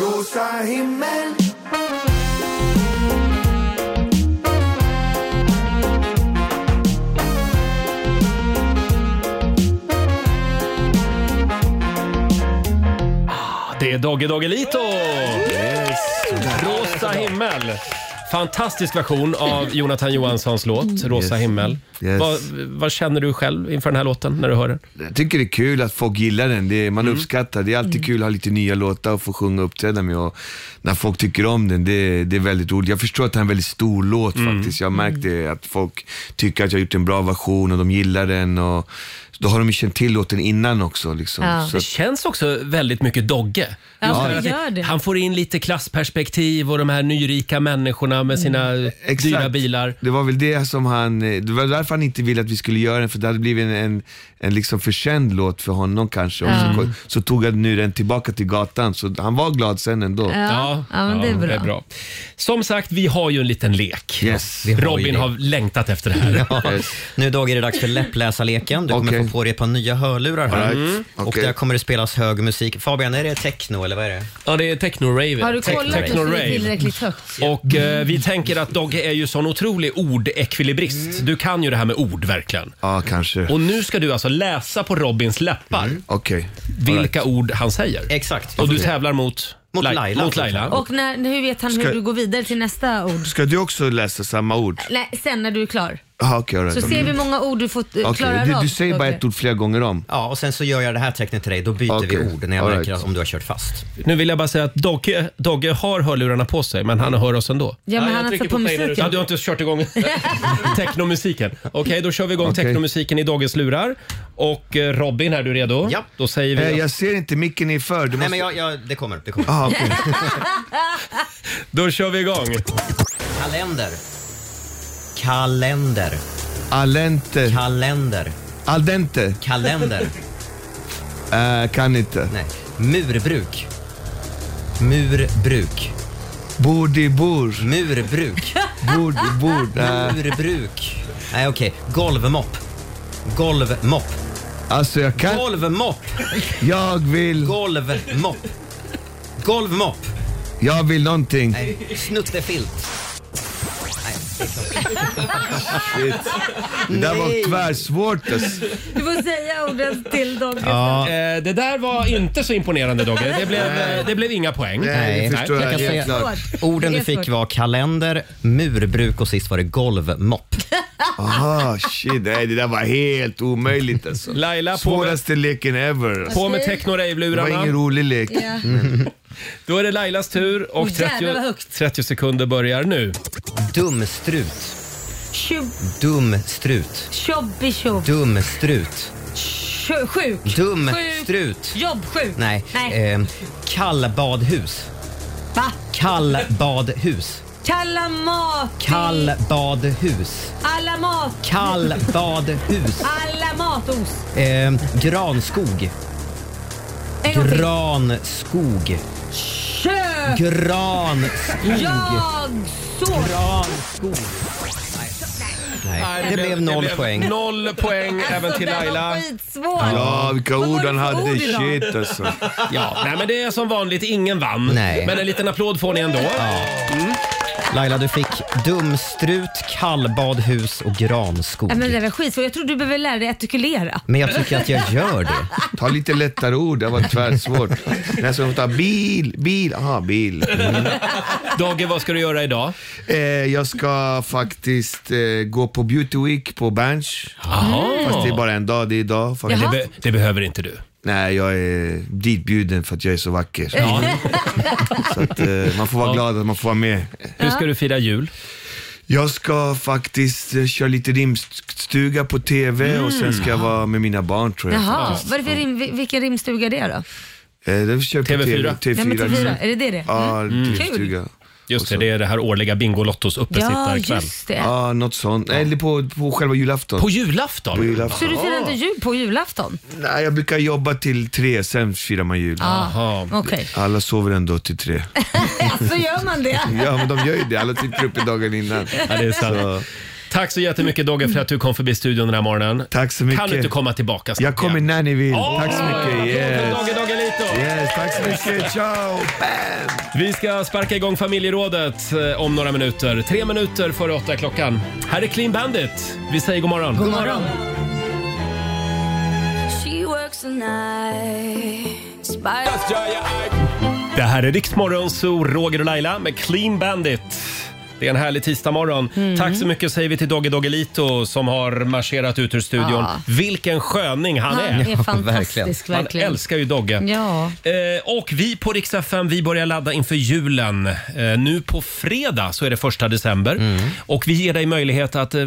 S5: Rosa himmel
S1: Det är Dogge Doggelito! Rosa himmel. Fantastisk version av Jonathan Johanssons låt Rosa
S10: Mm. Yes.
S1: himmel.
S10: Yes. Eh,
S1: Vad, vad känner du själv inför den här låten när du hör den?
S10: Jag tycker det är kul att folk gillar den. Det är, man
S1: Mm.
S10: uppskattar. Det är alltid kul att ha lite nya låtar och få sjunga och uppträda med. Och när folk tycker om den, det, det är väldigt roligt. Jag förstår att det är en väldigt stor låt
S1: Mm.
S10: faktiskt. Jag har märkt det, att folk tycker att jag har gjort en bra version och de gillar den. Och då har de ju känt till låten innan också. Liksom.
S2: Ja.
S10: Så
S1: Det
S10: att,
S1: känns också väldigt mycket Dogge.
S2: Ja,
S1: Just
S2: det
S1: för att
S2: gör det.
S1: Han får in lite klassperspektiv och de här nyrika människorna med sina
S2: Mm.
S1: dyra bilar.
S10: Det var väl det som han, eh, det var därför han inte ville att vi skulle göra den, för det hade blivit en, en, en liksom förkänd låt för honom kanske. Och så, så tog han nu den tillbaka till gatan, så han var glad sen ändå.
S2: Ja, ja, men det är bra.
S1: Som sagt, vi har ju en liten lek.
S10: Yes.
S3: Vi har ju
S1: Robin
S3: det.
S1: har längtat efter det här.
S3: Nu Dogge är det dags för läppläsarleken. Du kommer
S10: Okej.
S3: slå på dig ett par nya hörlurar här.
S2: All
S1: Mm.
S2: right.
S3: Och
S2: Okej.
S3: där kommer det spelas hög musik. Fabian, är det techno eller vad är det?
S1: Ja, det är techno-rave.
S2: Har du
S3: Techno-
S2: kollat att det
S1: Techno
S2: är
S1: rave.
S2: tillräckligt högt?
S1: Och eh, vi tänker att Dogge är ju sån otrolig ordekvilibrist.
S2: Mm.
S1: Du kan ju det här med ord verkligen.
S10: Ja, kanske.
S1: Och nu ska du alltså läsa på Robins läppar
S2: Mm.
S10: Okej.
S1: vilka ord han säger.
S3: Exakt.
S1: Och du tävlar mot?
S10: Mot
S1: Lai-
S10: Laila.
S1: Mot Laila.
S2: Och när, hur vet han
S10: Ska-
S2: hur du går vidare till nästa ord?
S10: Ska du också läsa samma ord?
S2: Nej, sen när du är klar.
S10: Jaha, okej. all right.
S2: Så ser vi hur
S10: Mm.
S2: många ord du fått, eh,
S10: Okej,
S2: klarar
S10: du,
S2: av.
S10: du säger bara
S2: Dogge.
S10: ett ord flera gånger om.
S3: Ja, och sen så gör jag det här tecknet till dig. Då byter vi ord när jag
S1: All
S3: märker
S1: right.
S3: om du har kört fast.
S1: Nu vill jag bara säga att Dogge, Dogge har hörlurarna på sig, men han hör oss ändå.
S2: Ja, men han har satt på musiken.
S1: Ja, du har inte kört igång technomusiken. Okej, då kör vi igång technomusiken i Dogges lurar. Och eh, Robin, är du redo? Ja. Då säger vi...
S10: Eh, jag ser inte, micken är för. Du måste...
S3: Nej, men jag, jag, det kommer. Det kommer.
S10: Ah, okej.
S1: Då kör vi igång.
S3: Kalender. Kalender.
S10: Alente.
S3: Kalender.
S10: Al dente.
S3: Kalender.
S10: Eh, kan inte.
S3: Nej. Murbruk. Murbruk.
S10: Bord i bord.
S3: Murbruk.
S10: Bord i bord. Eh,
S3: Ah, Murbruk. Nej, okej. Golvmopp. Golvmopp.
S10: alltså jag kan...
S3: Golvmopp.
S10: Jag vill...
S3: Golvmopp. Golvmopp.
S10: Jag vill någonting.
S3: Nej. Snuttefilt. Nej, det är klart.
S10: Shit. Det där
S3: Nej.
S10: var tvärsvårt alltså.
S2: Du får säga orden till Dogge.
S1: Eh, det där var inte så imponerande Dogge. Det blev, eh, det blev inga poäng.
S10: Nej, det förstår
S3: jag
S10: jag.
S3: kan säga-
S10: Helt
S2: Svårt.
S10: klart.
S3: Orden
S2: Det
S3: du
S2: är svårt.
S3: fick var kalender, murbruk och sist var det golvmopp.
S10: Aha, shit. Nej, det där var helt omöjligt alltså.
S1: Laila, på med,
S10: Svåraste leken ever. alltså.
S1: på med
S10: Det var ingen
S1: techno-rave-lurarna.
S10: rolig lek. Mm.
S2: Ja.
S1: Då är det Lailas tur och
S2: Åh, jävlar, vad
S1: 30,
S2: högt.
S1: 30 sekunder börjar nu.
S3: Dumstrut,
S2: Tjo-
S3: dumstrut,
S2: Tjobbi tjobb.
S3: dumstrut,
S2: Tjo- Sjuk.
S10: Mm.
S3: dumstrut.
S2: Jobbsjuk.
S3: Nej,
S2: Nej.
S3: ehm, kallbadhus,
S2: Va?
S3: kallbadhus,
S2: Kalamati.
S3: kallbadhus,
S2: Alla mat.
S3: kallbadhus.
S2: Alla matos.
S3: Ehm, granskog,
S2: En gång till.
S3: granskog,
S2: Kök.
S3: granskog,
S2: Jag såg.
S3: granskog. Nej, Nej. det blev noll poäng.
S1: Noll poäng även
S2: alltså,
S1: till Laila.
S2: skitsvår.
S10: Ja, vilka
S2: Vad var
S10: ord
S2: det
S10: han
S2: för ord
S10: hade.
S2: idag?
S10: Shit alltså.
S1: Ja, nej, men det är som vanligt, ingen vann.
S3: Nej.
S1: Men en liten applåd får ni ändå. Mm.
S3: Laila, du fick dumstrut, kallbadhus och granskog.
S2: Nej, men det där var skitsvårt. Jag tror du behöver lära dig artikulera.
S3: Men jag tycker att jag gör det.
S10: Ta lite lättare ord, det var tvärsvårt. När ska man ta bil, bil, aha bil.
S1: Mm. Dogge, vad ska du göra idag?
S10: Eh, jag ska faktiskt eh, gå på beauty week på Berns. Fast det är bara en dag, det är idag. Faktiskt.
S2: Jaha.
S1: Be- det behöver inte du.
S10: Nej, jag är ditbjuden för att jag är så vacker. Så att, eh, man får vara glad att man får vara med.
S1: Hur ska du fira jul?
S10: Jag ska faktiskt eh, köra lite rimstuga på TV
S1: Mm.
S10: och sen ska jag vara med mina barn tror jag.
S2: Jaha, vad är det för rim, vil- vilken rimstuga är det då?
S10: Eh, det försöker jag på
S1: TV4.
S10: TV,
S2: Nej, men till fyra. Är det det? det?
S10: Mm. Ja,
S2: Kul.
S10: rimstuga.
S1: Just det, det är det här årliga Bingolottos
S2: Ja,
S1: uppesittarkväll.
S2: just det.
S10: Ja, något sånt. Eller på, på själva julafton.
S1: På julafton?
S10: På julafton.
S2: Så du firar inte jul på julafton?
S10: Nej, jag brukar jobba till tre, sen firar man jul.
S1: Jaha.
S2: Ah, Okej.
S10: Alla sover ändå till tre.
S2: Så gör man det?
S10: Ja, men de gör ju det. Alla sitter uppe dagen innan.
S1: Ja, det är sant.
S10: Så,
S1: Tack så jättemycket Dogge för att du kom förbi studion den här morgonen.
S10: tack så mycket.
S1: Kan du inte komma tillbaka snart
S10: Jag kommer
S1: igen?
S10: när ni vill.
S1: Åh,
S10: tack så mycket.
S1: applåd
S10: Yes.
S1: för Dogge Doggelito.
S10: yes, tack så mycket. Ciao!
S1: Vi ska sparka igång familjerådet eh, om några minuter. Tre minuter före åtta klockan. Här är Clean Bandit. Vi säger god morgon.
S2: God morgon.
S9: She works the night. By-
S1: Det här är Riksmorgon, så Roger och Laila med Clean Bandit. Det är en härlig tisdagmorgon.
S2: Mm.
S1: Tack så mycket säger vi till Dogge Doggelito som har marscherat ut ur studion.
S2: Ja.
S1: Vilken sköning han,
S2: Han
S1: är!
S2: är fantastisk
S1: Man
S2: verkligen.
S1: älskar ju Dogge.
S2: Ja.
S1: Eh, och vi på Rix FM, vi börjar ladda inför julen. Eh, nu på fredag så är det första december. Och vi ger dig möjlighet att eh,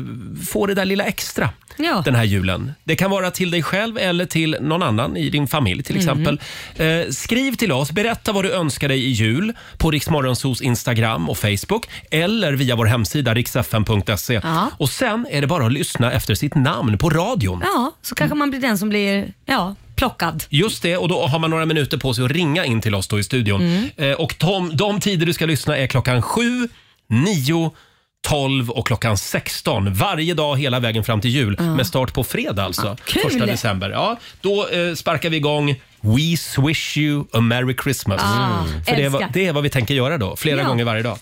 S1: få det där lilla extra
S2: Ja.
S1: den här julen. Det kan vara till dig själv eller till någon annan i din familj till
S2: Mm.
S1: exempel. Eh, skriv till oss, berätta vad du önskar dig i jul på Riksmorgonsos Instagram och Facebook eller via vår hemsida riksfm.se.
S2: Ja.
S1: Och sen är det bara att lyssna efter sitt namn på radion.
S2: ja, så kanske man blir den som blir ja, plockad.
S1: Just det, och då har man några minuter på sig att ringa in till
S2: Mm.
S1: Mm. oss då i studion. Eh, och de, de tider du ska lyssna är klockan 7, 9, 12 och klockan 16. Varje dag hela vägen fram till jul
S2: Ja. Ah,
S1: med start på fredag alltså.
S2: kul!
S1: första december. Ja, då eh, sparkar vi igång We swish you a merry Christmas. Mm.
S2: Ah,
S1: För det är,
S2: älskar.
S1: vad- det är vad vi tänker göra då, flera
S2: Ja.
S1: gånger varje dag.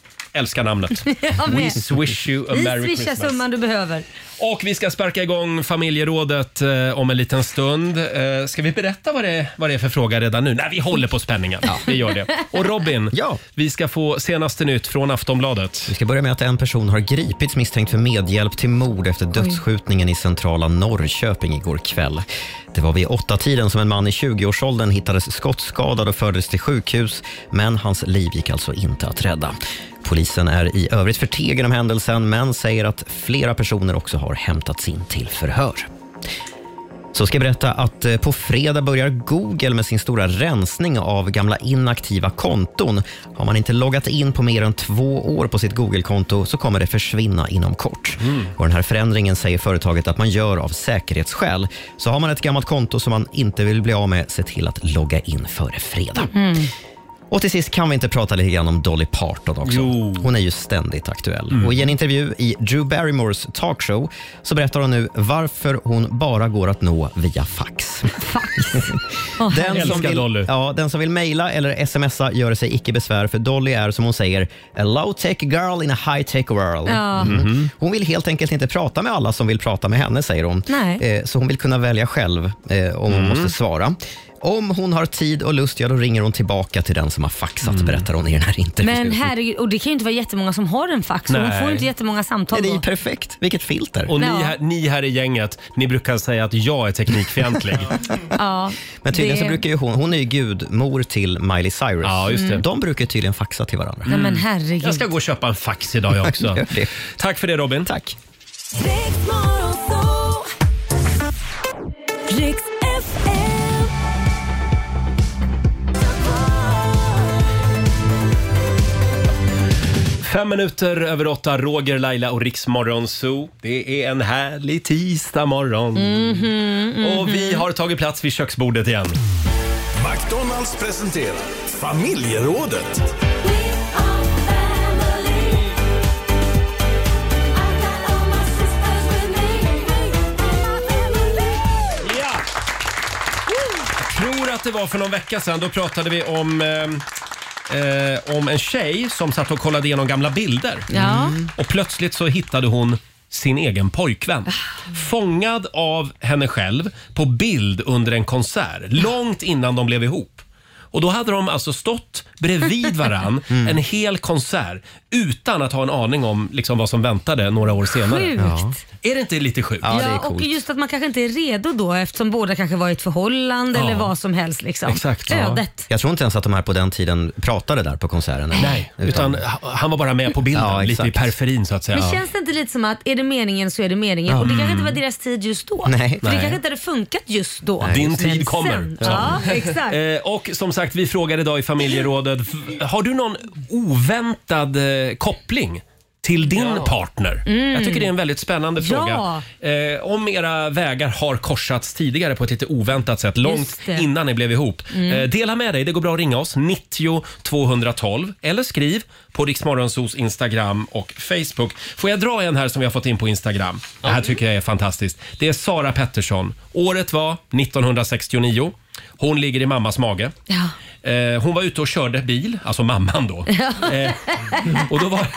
S1: Älskar namnet.
S2: Jag
S1: We
S2: med.
S1: swish you a
S2: Vi
S1: merry
S2: swishar
S1: Christmas.
S2: summan du behöver.
S1: Och vi ska sparka igång familjerådet eh, om en liten stund. Eh, ska vi berätta vad det, vad det är för fråga redan nu? Nej, vi håller på spänningen. Vi gör det. Och Robin, vi ska få senaste nytt från Aftonbladet.
S3: Vi ska börja med att en person har gripits misstänkt för medhjälp till mord efter dödsskjutningen i centrala Norrköping igår kväll. Det var vid åtta tiden som en man i 20-årsåldern hittades skottskadad och fördes till sjukhus, men hans liv gick alltså inte att rädda. Polisen är i övrigt förtegen om händelsen, men säger att flera personer också har hämtats in till förhör. Så ska jag berätta att eh, på fredag börjar Google med sin stora rensning av gamla inaktiva konton. Har man inte loggat in på mer än två år på sitt Google-konto så kommer det försvinna inom kort. Och den här förändringen säger företaget att man gör av säkerhetsskäl. Så har man ett gammalt konto som man inte vill bli av med, se till att logga in före fredag. Och till sist kan vi inte prata lite grann om Dolly Parton också. Hon är ju ständigt aktuell.
S1: Mm.
S3: Och I en intervju i Drew Barrymores talkshow så berättar hon nu varför hon bara går att nå via fax. den, som
S1: Älskar Dolly.
S3: vill, ja, den som vill mejla eller smsa gör sig icke besvär för Dolly är som hon säger a low-tech girl in a high-tech world.
S2: Ja.
S3: Mhm. Hon vill helt enkelt inte prata med alla som vill prata med henne, säger hon.
S2: Nej.
S3: Eh, Så hon vill kunna välja själv eh, om hon
S11: Mm.
S3: måste svara. Om hon har tid och lust, ja då ringer hon tillbaka till den som har faxat,
S1: Mm.
S3: berättar hon i den här intervjun.
S2: Men herregud, och det kan ju inte vara jättemånga som har en fax. så Hon
S1: Nej.
S2: får ju inte jättemånga samtal
S3: Det är
S2: då.
S3: ju perfekt. Vilket filter.
S1: Och ni,
S2: Ja.
S1: här, ni här i gänget, ni brukar säga att jag är teknikfientlig.
S2: Ja,
S3: Men tydligen
S2: det-
S3: så brukar ju hon, hon är ju gudmor till Miley Cyrus.
S1: Ja, just det. Mm.
S3: De brukar tydligen faxa till varandra.
S2: Nej men herregud.
S1: jag ska gå och köpa en fax idag jag också.
S3: Gör det.
S1: Tack för det Robin.
S3: Tack.
S1: Fem minuter över åtta, Roger, Laila och Riksmorgon Zoo. Det är en härlig tisdag morgon. Och vi har tagit plats vid köksbordet igen.
S12: McDonalds presenterar Familjerådet.
S1: tror att det var för någon vecka sedan. Då pratade vi om, eh, eh, om en tjej som satt och kollade igenom gamla bilder.
S2: Ja. Mm.
S1: Och plötsligt så hittade hon sin egen pojkvän.
S2: Ah.
S1: Fångad av henne själv på bild under en konsert. Långt innan de blev ihop. Och då hade de alltså stått bredvid varann
S2: Mm.
S1: en hel konsert utan att ha en aning om liksom, vad som väntade några år senare.
S2: Sjukt.
S1: Är det inte lite sjukt?
S2: Ja, och just att man kanske inte är redo då eftersom båda kanske var i ett förhållande
S3: Ja.
S2: eller vad som helst. Liksom. Ödet.
S3: Jag tror inte ens att de här på den tiden pratade där på konserten.
S1: Nej, utan han var bara med på bilden,
S3: Ja,
S1: lite i
S3: exakt.
S1: periferin så att säga.
S2: Men känns det inte lite som att är det meningen så är det meningen
S1: Ja.
S2: och det kanske inte
S1: Mm.
S2: var deras tid just då.
S1: Nej.
S2: För det
S1: Nej.
S2: kanske inte hade funkat just då.
S1: Din
S2: Men
S1: tid kommer.
S2: Sen, ja, exakt.
S1: Eh, Och som sagt, vi frågar idag i familjerådet, v- har du någon oväntad eh, koppling? till din partner.
S2: Mm.
S1: Jag tycker det är en väldigt spännande
S2: Ja.
S1: fråga. Eh, om era vägar har korsats tidigare på ett lite oväntat sätt, långt
S2: det.
S1: innan ni blev ihop.
S2: Mm.
S1: Eh, dela med dig. Det går bra att ringa oss, 90 212 eller skriv på Riksmorgonsos Instagram och Facebook. Får jag dra en här som vi har fått in på Instagram? Det här tycker jag är fantastiskt. Det är Sara Pettersson. Året var 1969. Hon ligger i mammas mage.
S2: Ja.
S1: Eh, hon var ute och körde bil, alltså mamman då. Eh, och då var,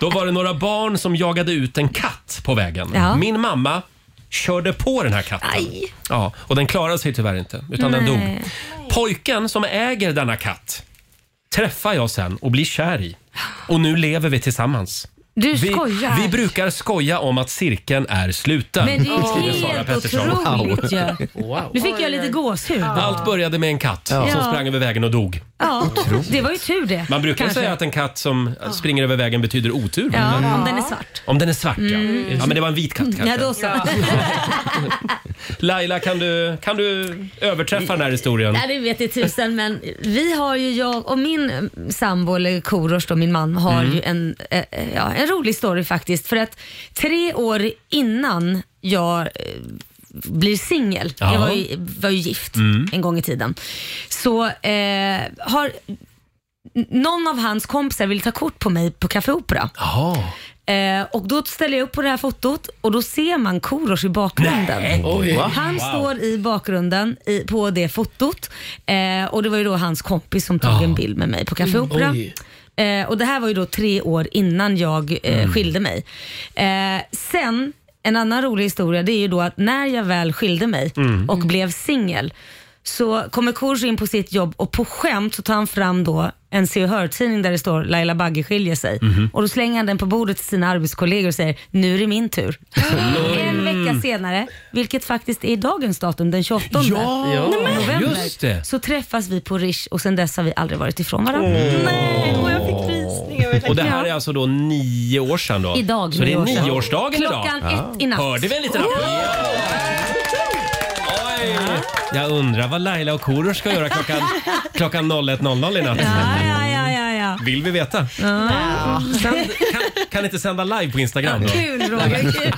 S1: då var det några barn som jagade ut en katt på vägen.
S2: Ja.
S1: Min mamma körde på den här katten. Ja, och den klarade sig tyvärr inte, utan den
S2: Nej.
S1: dog. Pojken som äger denna katt träffar jag sen och blir kär i. Och nu lever vi tillsammans.
S2: Du
S1: vi,
S2: skojar.
S1: Vi brukar skoja om att cirkeln är sluten.
S2: Men det är ju
S1: skriver
S2: helt
S1: Sara Pettersson.
S2: otroligt ju. Nu fick jag lite gåshud.
S1: Allt började med en katt
S2: Ja.
S1: som
S2: Ja.
S1: sprang över vägen och dog.
S2: Ja, det var ju tur det.
S1: Man brukar
S2: kanske.
S1: säga att en katt som springer över vägen betyder otur.
S2: Ja,
S1: Men-
S2: om den är svart.
S1: Om den är svart
S2: Mm.
S1: ja. Ja men det var en vit katt kanske.
S2: Ja, då så.
S1: Laila kan du, kan du överträffa den här historien?
S2: Ja, det vet jag tusen men vi har ju, jag och min eh, sambo eller korosh då, min man, har
S13: Mm.
S2: ju en, eh, eh, ja, en rolig story faktiskt. För att tre år innan jag eh, blir singel,
S13: Ja.
S2: jag var ju, var ju gift
S13: Mm.
S2: en gång i tiden, så eh, har n- någon av hans kompisar vill ta kort på mig på Café Opera.
S1: Jaha.
S2: Eh, och då ställer jag upp på det här fotot och då ser man Korosh i bakgrunden.
S9: Nej, oj.
S2: han
S9: Wow.
S2: står i bakgrunden i, på det fotot eh, och det var ju då hans kompis som tog en bild med mig på Café
S9: Mm.
S2: Opera.
S9: Oj.
S2: Eh, och det här var ju då tre år innan jag eh,
S9: Mm.
S2: skilde mig. Eh, sen, en annan rolig historia, det är ju då att när jag väl skilde mig
S9: Mm.
S2: och blev singel så kommer Kurs in på sitt jobb och på skämt så tar han fram då en Se och Hör-tidning där det står Laila Bagge skiljer sig.
S9: Mhm.
S2: Och då slänger han den på bordet till sina arbetskollegor och säger nu är det min tur. En vecka senare, vilket faktiskt är dagens datum, den 28
S9: Ja, Ja,
S2: november,
S9: just det.
S2: så träffas vi på Rish och sen dess har vi aldrig varit ifrån varandra.
S1: Och det här är alltså då nio år sedan då?
S2: Idag,
S1: Så det
S2: nio
S1: är
S2: år sedan.
S1: nioårsdagen idag?
S2: Klockan ett i natt.
S1: Hörde vi en liten applåd? Oj! Jag undrar vad Laila och Korosh ska göra klockan, klockan 01.00 i natt.
S2: Ja, ja, ja, ja.
S1: Vill vi veta?
S2: Ja.
S1: Sänd, kan, kan inte sända live på Instagram då?
S2: Kul Roger, kul.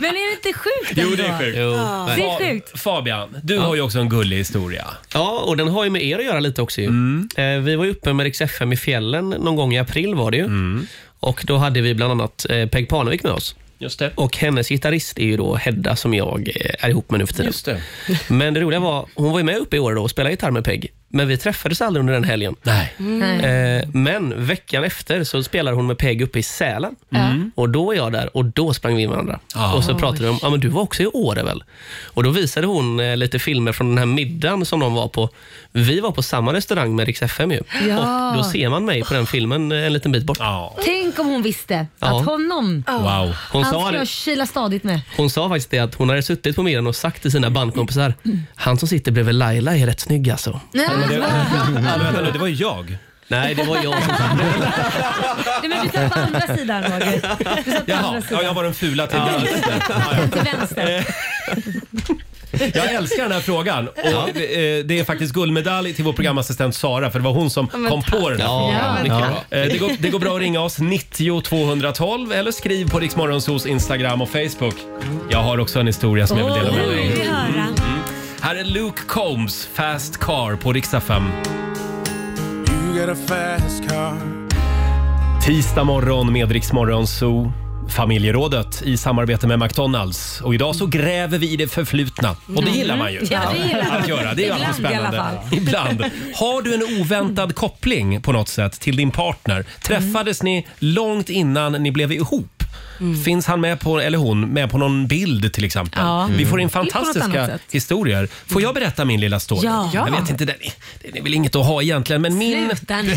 S2: Men är det inte sjukt
S1: Jo,
S2: ändå?
S1: det är sjukt.
S2: Ja. Det är sjukt.
S1: Fa- Fabian, du har ju också en gullig historia. Mm.
S8: Ja, och den har ju med er att göra lite också. Ju. Eh, vi var ju uppe med Rix FM i fjällen någon gång i april var det ju.
S1: Mm.
S8: Och då hade vi bland annat eh, Peg Parnevik med oss.
S1: Just det.
S8: Och hennes gitarrist är ju då Hedda som jag eh, är ihop med nu för tiden. Men det roliga var, hon var ju med uppe i år då och spelade gitarr med Peg. Men vi träffades aldrig under den helgen.
S1: Nej.
S2: Mm.
S8: Eh, men veckan efter så spelar hon med Peg uppe i Sälen.
S9: Mm.
S8: Och då är jag där och då sprang vi in varandra.
S1: Ah.
S8: Och så pratade vi om, ja men du var också i Åre väl? Och då visade hon eh, lite filmer från den här middagen som de var på. Vi var på samma restaurang med Rix FM ju.
S2: Ja.
S8: Och då ser man mig på den filmen eh, en liten bit bort.
S2: Tänk om hon visste
S8: Ja.
S2: att honom,
S8: Wow. Hon
S2: han
S8: sa
S2: ska
S8: det.
S2: jag kyla stadigt med.
S8: Hon sa faktiskt det att hon hade suttit på middagen och sagt till sina bandkompisar,
S2: Mm.
S8: han som sitter bredvid Laila är rätt snygg alltså.
S2: Nej.
S1: Men det, ja, men vänta nu, det var ju jag.
S8: Nej, det var jag som
S2: Nej, men du satt på andra sidan Roger. Du satt på andra
S1: Jaha, ja,
S2: sidan.
S1: jag var den fula till
S2: Till vänster.
S1: Jag älskar den här frågan. Och det, eh, det är faktiskt guldmedalj till vår programassistent Sara för det var hon som
S9: Ja, men
S1: kom på den här
S9: tack. Ja,
S1: frågan.
S9: men tack.
S1: Eh, Det, går, det går bra att ringa oss 90 212 eller skriv på Riksmorgonsos Instagram och Facebook. Jag har också en historia som jag vill dela med
S9: Oj,
S1: dig.
S9: vi höra.
S1: Här är Luke Combs Fast Car på Riksa 5. Tisdag morgon med Riksmorgon Zoo. Familjerådet i samarbete med McDonalds. Och idag så gräver vi i det förflutna. Och det
S9: Mm.
S1: gillar man ju.
S9: Ja, det gillar man.
S1: Att göra. Det är ju alltid
S9: Ibland i alla
S1: spännande.
S9: fall.
S1: Ibland. Har du en oväntad koppling på något sätt till din partner? Träffades ni långt innan ni blev ihop?
S9: Mm.
S1: Finns han med på, eller hon med på någon bild till exempel?
S9: Ja.
S1: Vi får in
S9: Mm. Det är på något
S1: fantastiska
S9: annat sätt.
S1: historier. Får jag berätta min lilla story?
S9: Ja.
S1: Jag vet inte, den är, den är väl inget att ha egentligen, men
S10: Eh.
S1: min,
S2: Sluta nu.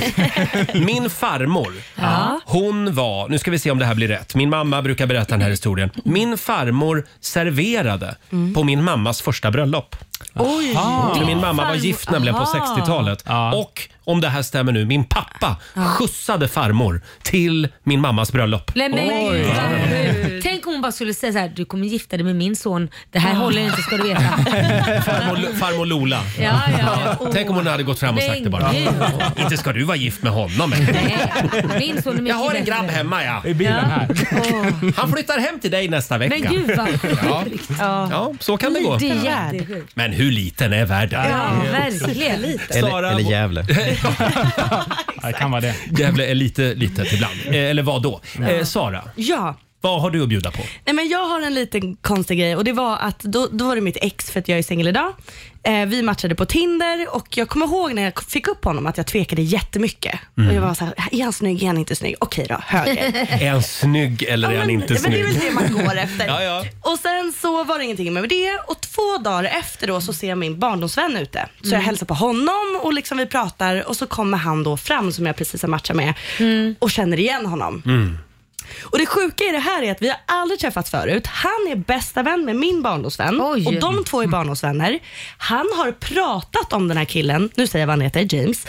S1: min farmor,
S2: Ja.
S1: hon var, nu ska vi se om det här blir rätt. Min mamma brukar berätta den här historien. Min farmor serverade
S2: Mm.
S1: på min mammas första bröllop.
S9: Oj.
S1: För
S9: Din
S1: min mamma var
S9: farmor-
S1: gift nämligen på
S9: Aha.
S1: 60-talet. Och om det här stämmer nu, min pappa skjutsade farmor till min mammas bröllop.
S2: Nej, men
S1: Oj.
S2: gud, vad sjukt. Tänk om hon bara skulle säga så här: du kommer gifta dig med min son. Det här håller inte ska du veta.
S1: Farmor, farmor Lola.
S2: Ja, ja. Oh.
S1: Tänk om hon hade gått fram och sagt det bara.
S2: Men
S1: Inte ska du vara gift med honom.
S2: Min son är mycket
S1: Jag har en
S2: bättre.
S1: grabb hemma ja.
S2: I bilen här.
S1: Han flyttar hem till dig nästa vecka.
S2: Men gud vad
S1: ja.
S2: sjukt.
S1: ja, så kan det gå.
S2: Det är jättesjukt.
S1: Men hur liten är världen?
S2: Ja, verkligen.
S1: Sara-
S3: Eller Gävle.
S1: Det kan vara det. Gävle är lite litet ibland. Eh, Eller vad då? Eh, Sara,
S7: Ja.
S1: vad har du att bjuda på?
S7: Nej, men jag har en liten konstig grej och det var att då, då var det mitt ex för att jag är singel idag. Eh, vi matchade på Tinder och jag kommer ihåg när jag fick upp honom att jag tvekade jättemycket.
S1: Mm.
S7: Och jag var så här, är han snygg, är han inte snygg? Okej då, höger.
S1: Är han snygg eller är han
S7: men
S1: inte
S7: det
S1: snygg?
S7: är väl det man går efter.
S1: ja, ja.
S7: Och sen så var det ingenting med det och två dagar efter då så ser jag min barndomsvän ute. Så jag
S2: Mm.
S7: hälsar på honom och liksom vi pratar och så kommer han då fram som jag precis har matchat med och känner igen honom.
S4: Mm.
S7: Och det sjuka i det här är att vi har aldrig träffats förut. Han är bästa vän med min barndomsvän och de två är barndomsvänner. Han har pratat om den här killen, nu säger jag vad han heter, James.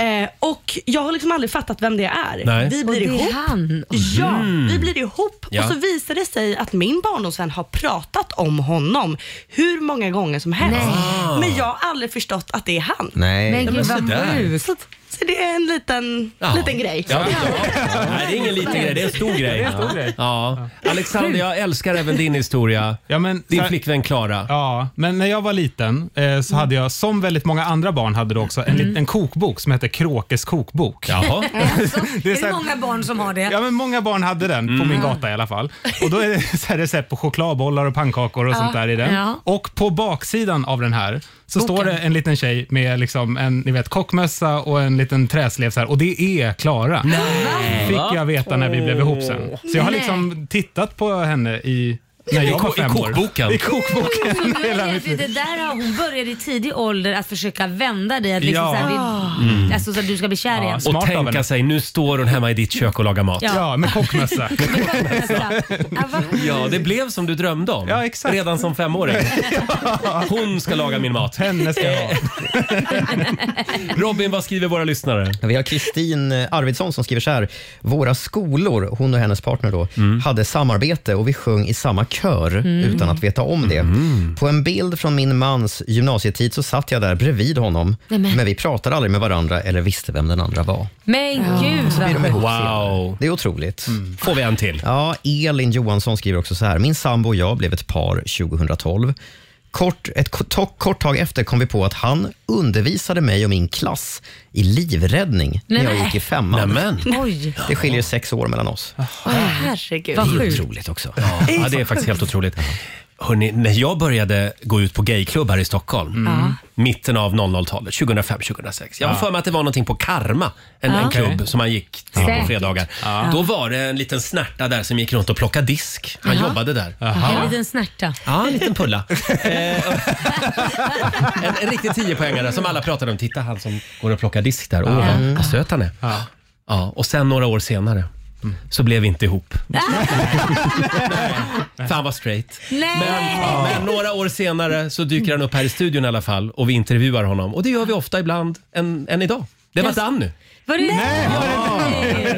S7: Eh, och jag har liksom aldrig fattat vem det är.
S9: Nej.
S7: Vi
S9: Och
S7: blir
S9: det är
S7: ihop.
S2: Han.
S7: Ja,
S9: Mm.
S7: vi blir ihop
S9: Ja.
S7: och så visar det sig att min barndomsvän har pratat om honom hur många gånger som helst.
S9: Nej.
S7: Men jag har aldrig förstått att det är han.
S3: Nej. Men gud, vad
S7: så där.
S3: sjukt.
S7: Så, så kanske det är en liten,
S1: Ja.
S7: liten grej.
S1: Ja, ja. Nej, det är ingen liten grej, det är en stor grej.
S4: Det är en stor grej.
S1: Ja. Alexander, jag älskar även din historia.
S4: Ja, men,
S1: Din
S4: så här-
S1: flickvän Klara.
S4: Ja, men när jag var liten eh, så hade jag, som väldigt många andra barn hade då också, en
S2: Mm.
S4: liten kokbok som hette Kråkes kokbok.
S1: Jaha.
S2: det är, det många barn som har det?
S4: Ja, men många barn hade den på
S1: Mm.
S4: min gata i alla fall. Och Då är det så här recept på chokladbollar och pannkakor och
S2: Ja.
S4: sånt där i den.
S2: Ja.
S4: Och på baksidan av den här så
S2: Boken.
S4: står det en liten tjej med liksom en ni vet, kockmössa och en liten träslev så här, och det är Klara. Fick jag veta när vi blev ihop sen. Så jag har
S2: Nej.
S4: liksom tittat på henne i när
S1: I
S4: jag var
S1: ko- i
S4: fem år.
S1: kokboken.
S4: I kokboken. hela
S2: Jag
S4: mitt
S2: vet ju,
S4: liv.
S2: Det där har hon börjat i tidig ålder att försöka vända dig. Att liksom
S4: Ja.
S2: så här, vi,
S1: Mm.
S2: alltså, så att du ska bli kär igen.
S1: och tänka sig, nu står hon hemma i ditt kök och lagar mat.
S2: Ja. Ja,
S4: med kockmössa.
S2: Alltså,
S1: ja, det blev som du drömde om.
S4: Ja, exakt.
S1: Redan som femåring. Hon ska laga min mat.
S4: Henne ska jag ha.
S1: Robin, vad skriver våra lyssnare?
S3: Vi har Kristin eh, Arvidsson som skriver så här. Våra skolor, hon och hennes partner då,
S1: Mm.
S3: hade samarbete och vi sjöng i samma kör
S11: Mm.
S3: utan att veta om det.
S1: Mm.
S3: På en bild från min mans gymnasietid så satt jag där bredvid honom,
S2: Nej, men-
S3: men vi pratade aldrig med varandra eller visste vem den andra var.
S2: Men gud vad sjukt.
S1: Wow.
S3: Det är otroligt.
S1: Får vi en till?
S3: Mm. Ja, Elin Johansson skriver också så här. Min sambo och jag blev ett par 2012. Kort, ett ko- to- kort tag efter kom vi på att han undervisade mig och min klass i livräddning när jag
S2: Nämen.
S3: gick i femman.
S2: Oj.
S3: Det skiljer sex år mellan oss.
S2: Oj, herregud.
S3: Det
S2: Vad
S3: är
S2: sjukt.
S3: otroligt också.
S1: Ja, det är faktiskt helt otroligt. Hörrni, när jag började gå ut på gayklubb här i Stockholm, Mm.
S2: Ja.
S1: mitten av 00-talet, 2005-2006. Jag har
S4: Ja.
S1: för mig att det var någonting på Karma, en,
S2: Ja.
S1: en klubb som man gick till på
S2: Säkert.
S1: fredagar.
S2: Ja.
S1: Då var det en liten snärta där som gick runt och plockade disk. Han
S2: Jaha.
S1: jobbade där.
S2: En liten snärta.
S1: Ja, en liten pulla. Eh, en, en riktig tiopoängare som alla pratade om. Titta han som går och plockar disk där. Åh,
S2: Ja.
S1: vad- vad söt han är. Ja. och sen några år senare så blev vi inte ihop. Nej. För han var straight.
S2: Nej!
S1: Men några år senare så dyker han upp här i studion i alla fall och vi intervjuar honom. Och det gör vi ofta ibland, än, än idag. Det var Danny.
S2: Var det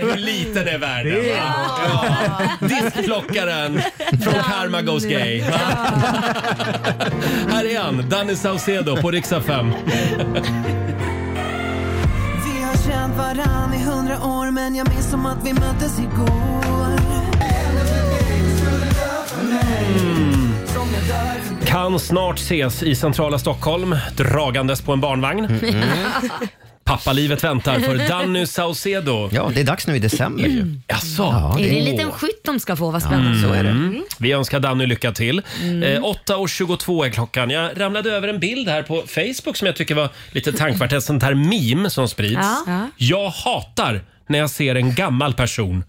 S1: Hur liten är världen?
S4: Det är-
S1: Ja. Diskplockaren från Karma Goes Gay. Här är han, Danny Saucedo på riksdag
S13: Vi
S1: 5.
S13: har känt varann i hundra år men jag minns som att vi möttes igår.
S1: Kan snart ses i centrala Stockholm, dragandes på en barnvagn.
S9: Mm.
S1: Pappalivet väntar för Danny Saucedo.
S3: Ja, det är dags nu i december ju.
S1: Jaså?
S2: Mm. Är det en liten skytt de ska få? Vad spännande.
S1: Mm. Vi önskar Danny lycka till.
S2: Mm.
S1: Eh, 8.22 är klockan. Jag ramlade över en bild här på Facebook som jag tycker var lite tankvärt. Ett sånt här meme som sprids.
S2: Ja. Ja.
S1: Jag hatar när jag ser en gammal person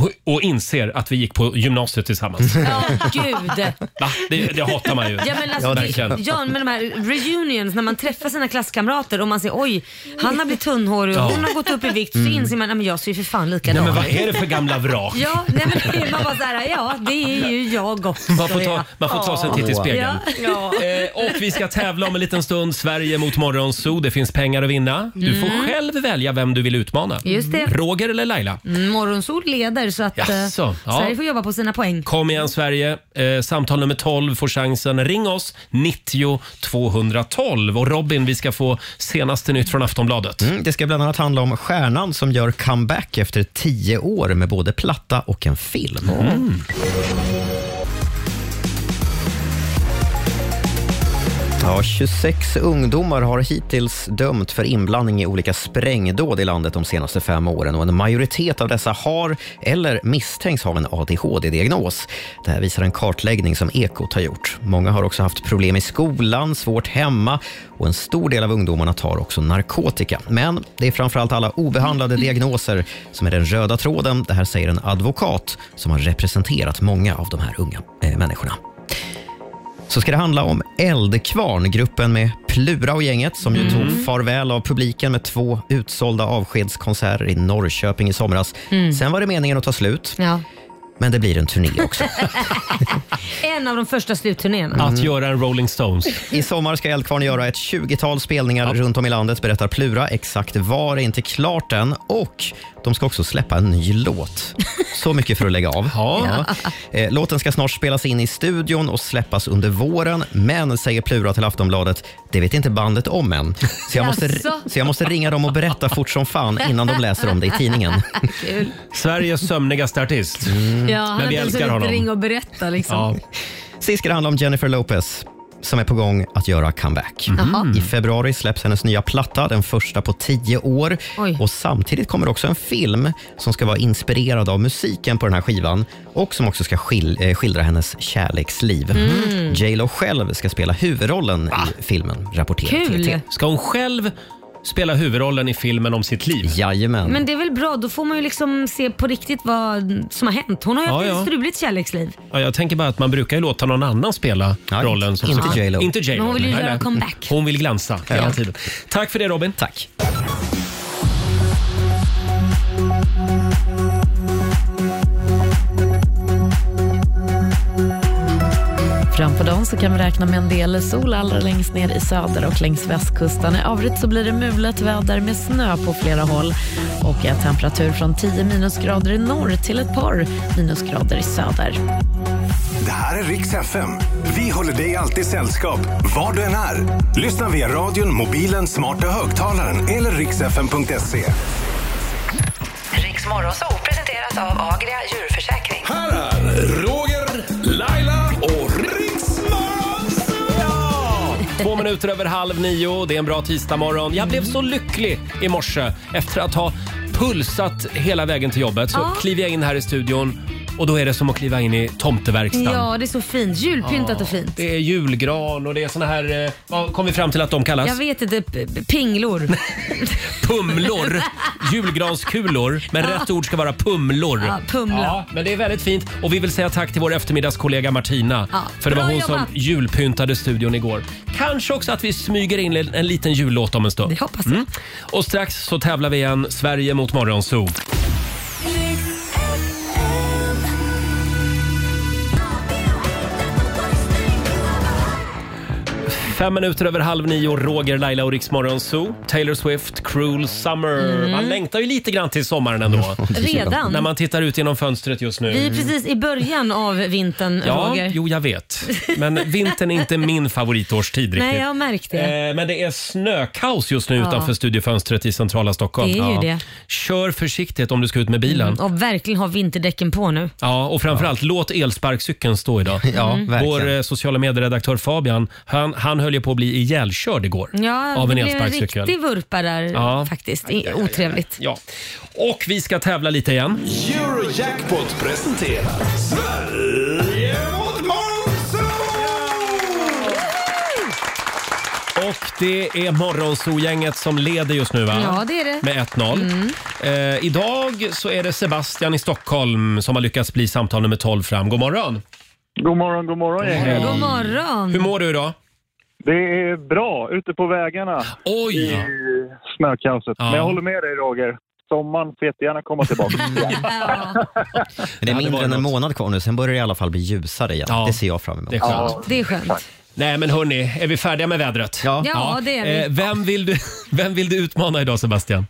S1: och, och inser att vi gick på gymnasiet tillsammans.
S2: Ja, gud.
S1: Va? Det, det hatar man ju.
S2: Ja men, alltså,
S1: Verkligen.
S2: det, ja, men de här reunions, när man träffar sina klasskamrater och man ser oj, han har blivit tunnhårig och
S1: Ja.
S2: hon har gått upp i vikt så
S1: Mm.
S2: inser man, nej, men jag ser ju för fan likadan
S1: Nej, men
S2: ut."
S1: vad är det för gamla vrak?
S2: Ja, nej, men man bara såhär, ja det är ju jag också.
S1: Man får ta- man får ta sig en titt i spegeln.
S2: Ja.
S1: Eh, och vi ska tävla om en liten stund. Sverige mot Morgonzoo. Det finns pengar att vinna. Du får
S2: Mm.
S1: själv välja vem du vill utmana.
S2: Just det.
S1: Roger eller Laila?
S2: Mm, Morgonsol leder så att eh,
S1: Jaså, ja.
S2: Sverige får jobba på sina poäng.
S1: Kom igen Sverige. Eh, samtal nummer 12 får chansen. Ring oss, 90 212. Och Robin, vi ska få senaste nytt från Aftonbladet.
S3: Mm, det ska bland annat handla om stjärnan som gör comeback efter tio år med både platta och en film.
S1: Mm.
S3: Ja, 26 ungdomar har hittills dömt för inblandning i olika sprängdåd i landet de senaste fem åren och en majoritet av dessa har eller misstänks ha en ADHD-diagnos. Det här visar en kartläggning som Ekot har gjort. Många har också haft problem i skolan, svårt hemma och en stor del av ungdomarna tar också narkotika. Men det är framförallt alla obehandlade diagnoser som är den röda tråden. Det här säger en advokat som har representerat många av de här unga eh, människorna så ska det handla om Eldkvarn, gruppen med Plura och gänget som ju
S2: Mm.
S3: tog farväl av publiken med två utsålda avskedskonserter i Norrköping i somras.
S2: Mm.
S3: Sen var det meningen att ta slut.
S2: Ja.
S3: Men det blir en turné också.
S2: en av de första slutturnéerna.
S1: göra en Rolling Stones.
S3: Mm. I sommar ska Eldkvarn göra ett 20-tal spelningar runt om i landet, berättar Plura. Exakt var är inte klart än. Och de ska också släppa en ny låt. Så mycket för att lägga av. Ja. Eh, Låten ska snart spelas in i studion och släppas under våren. Men, säger Plura till Aftonbladet, det vet inte bandet om än. Så jag måste,
S1: Jaså?
S3: så jag måste ringa dem och berätta fort som fan innan de läser om det i tidningen. Mm.
S2: Kul.
S1: Sveriges sömnigaste artist.
S2: Ja, han hade alltså lite ring och berätta liksom.
S3: Sist ska det handla om Jennifer Lopez som är på gång att göra comeback.
S1: Mhm.
S2: Jaha.
S3: I februari släpps hennes nya platta, den första på tio år.
S2: Oj.
S3: Och Samtidigt kommer också en film som ska vara inspirerad av musiken på den här skivan och som också ska skil- eh, skildra hennes kärleksliv.
S1: Mm.
S3: J Lo själv ska spela huvudrollen i filmen, rapporterar
S2: Kul.
S3: TT.
S1: Ska hon själv spela huvudrollen i filmen om sitt liv?
S3: Jajamän.
S2: Men det är väl bra, då får man ju liksom se på riktigt vad som har hänt. Hon har ju
S1: Ja,
S2: haft ett
S1: ja.
S2: struligt kärleksliv.
S1: Ja, jag tänker bara att man brukar ju låta någon annan spela rollen. Som
S2: inte
S1: försöker-
S2: J.Lo.
S1: Inte J.Lo.
S2: Men hon vill ju
S1: nej,
S2: göra
S1: nej.
S2: comeback.
S1: Hon vill glansa hela
S2: Ja.
S1: tiden. Tack för det Robin.
S3: Tack.
S11: Fram på dagen så kan vi räkna med en del sol allra längst ner i söder och längs västkusten. I övrigt så blir det mulet väder med snö på flera håll och en temperatur från 10 minusgrader i norr till ett par minusgrader i söder.
S12: Det här är Riks FM. Vi håller dig alltid sällskap, var du än är. Lyssna via radion, mobilen, smarta högtalaren eller riksfm.se.
S14: Riks Morgonzoo presenteras av Agria djurförsäkring.
S12: Roger, Laila och Riks
S1: Två minuter över halv nio, det är en bra tisdagmorgon. Jag blev så lycklig i morse efter att ha pulsat hela vägen till jobbet. Så
S2: Ja.
S1: kliver jag in här i studion och då är det som att kliva in i tomteverkstan.
S2: Ja, det är så fint. Julpyntat och fint.
S1: Det är julgran och det är såna här, eh, vad kom vi fram till att de kallas?
S2: Jag vet inte, p- p- pinglor.
S1: Pumlor. Julgranskulor. Men
S2: Ja.
S1: rätt ord ska vara pumlor.
S2: Ja, pumla.
S1: men det är väldigt fint. Och vi vill säga tack till vår eftermiddagskollega Martina.
S2: Ja,
S1: För det var
S2: bra
S1: hon som
S2: jobbat.
S1: julpyntade studion igår. Kanske också att vi smyger in en, en liten jullåt om en stund. Det
S2: hoppas
S1: jag. Och strax så tävlar vi igen Sverige mot Morgonzoo. Fem minuter över halv nio, Roger, Laila och Riksmorgon Zoo. Taylor Swift, Cruel Summer.
S2: Mm.
S1: Man längtar ju lite grann till sommaren ändå.
S2: Redan?
S1: När man tittar ut genom fönstret just nu.
S2: Vi är precis i början av vintern,
S1: Ja,
S2: Roger.
S1: jo jag vet. Men vintern är inte min favoritårstid riktigt.
S2: Nej, jag har märkt det.
S1: Eh, Men det är snökaos just nu
S2: Ja.
S1: utanför studiofönstret i centrala Stockholm.
S2: Det är ju det.
S1: Kör försiktigt om du ska ut med bilen.
S2: Mm, och verkligen ha vinterdäcken på nu.
S1: Ja, och framförallt låt elsparkcykeln stå idag.
S2: Ja, verkligen.
S1: Vår eh, sociala medieredaktör Fabian, han, han höll ju på att bli ihjälkörd igår
S2: Ja,
S1: av en
S2: det blev en
S1: elsparkcykel.
S2: riktig vurpa där faktiskt. I- Otrevligt.
S1: Ja. Och vi ska tävla lite igen.
S12: Eurojackpot presenterar Sverige mot
S1: Och det är Morgonzoo-gänget som leder just nu va?
S2: Ja, det är det.
S1: Med 1-0.
S2: Mm.
S1: Eh, idag så är det Sebastian i Stockholm som har lyckats bli samtal nummer 12 fram. God morgon!
S15: God morgon, god morgon gänget.
S2: God morgon.
S1: Hur mår du idag?
S15: Det är bra ute på vägarna.
S1: Oj!
S15: I snökaoset.
S1: Ja.
S15: Men jag håller med dig Roger. Sommaren får jättegärna komma tillbaka.
S1: Mm.
S3: Men det är mindre än en månad kvar nu, sen börjar det i alla fall bli ljusare igen. Det ser jag fram emot.
S1: det är skönt.
S2: Det är skönt.
S1: Nej men hörni, är vi färdiga med vädret?
S3: Ja,
S2: Ja, det är vi.
S1: Eh, vem, vill du, vem vill du utmana idag Sebastian?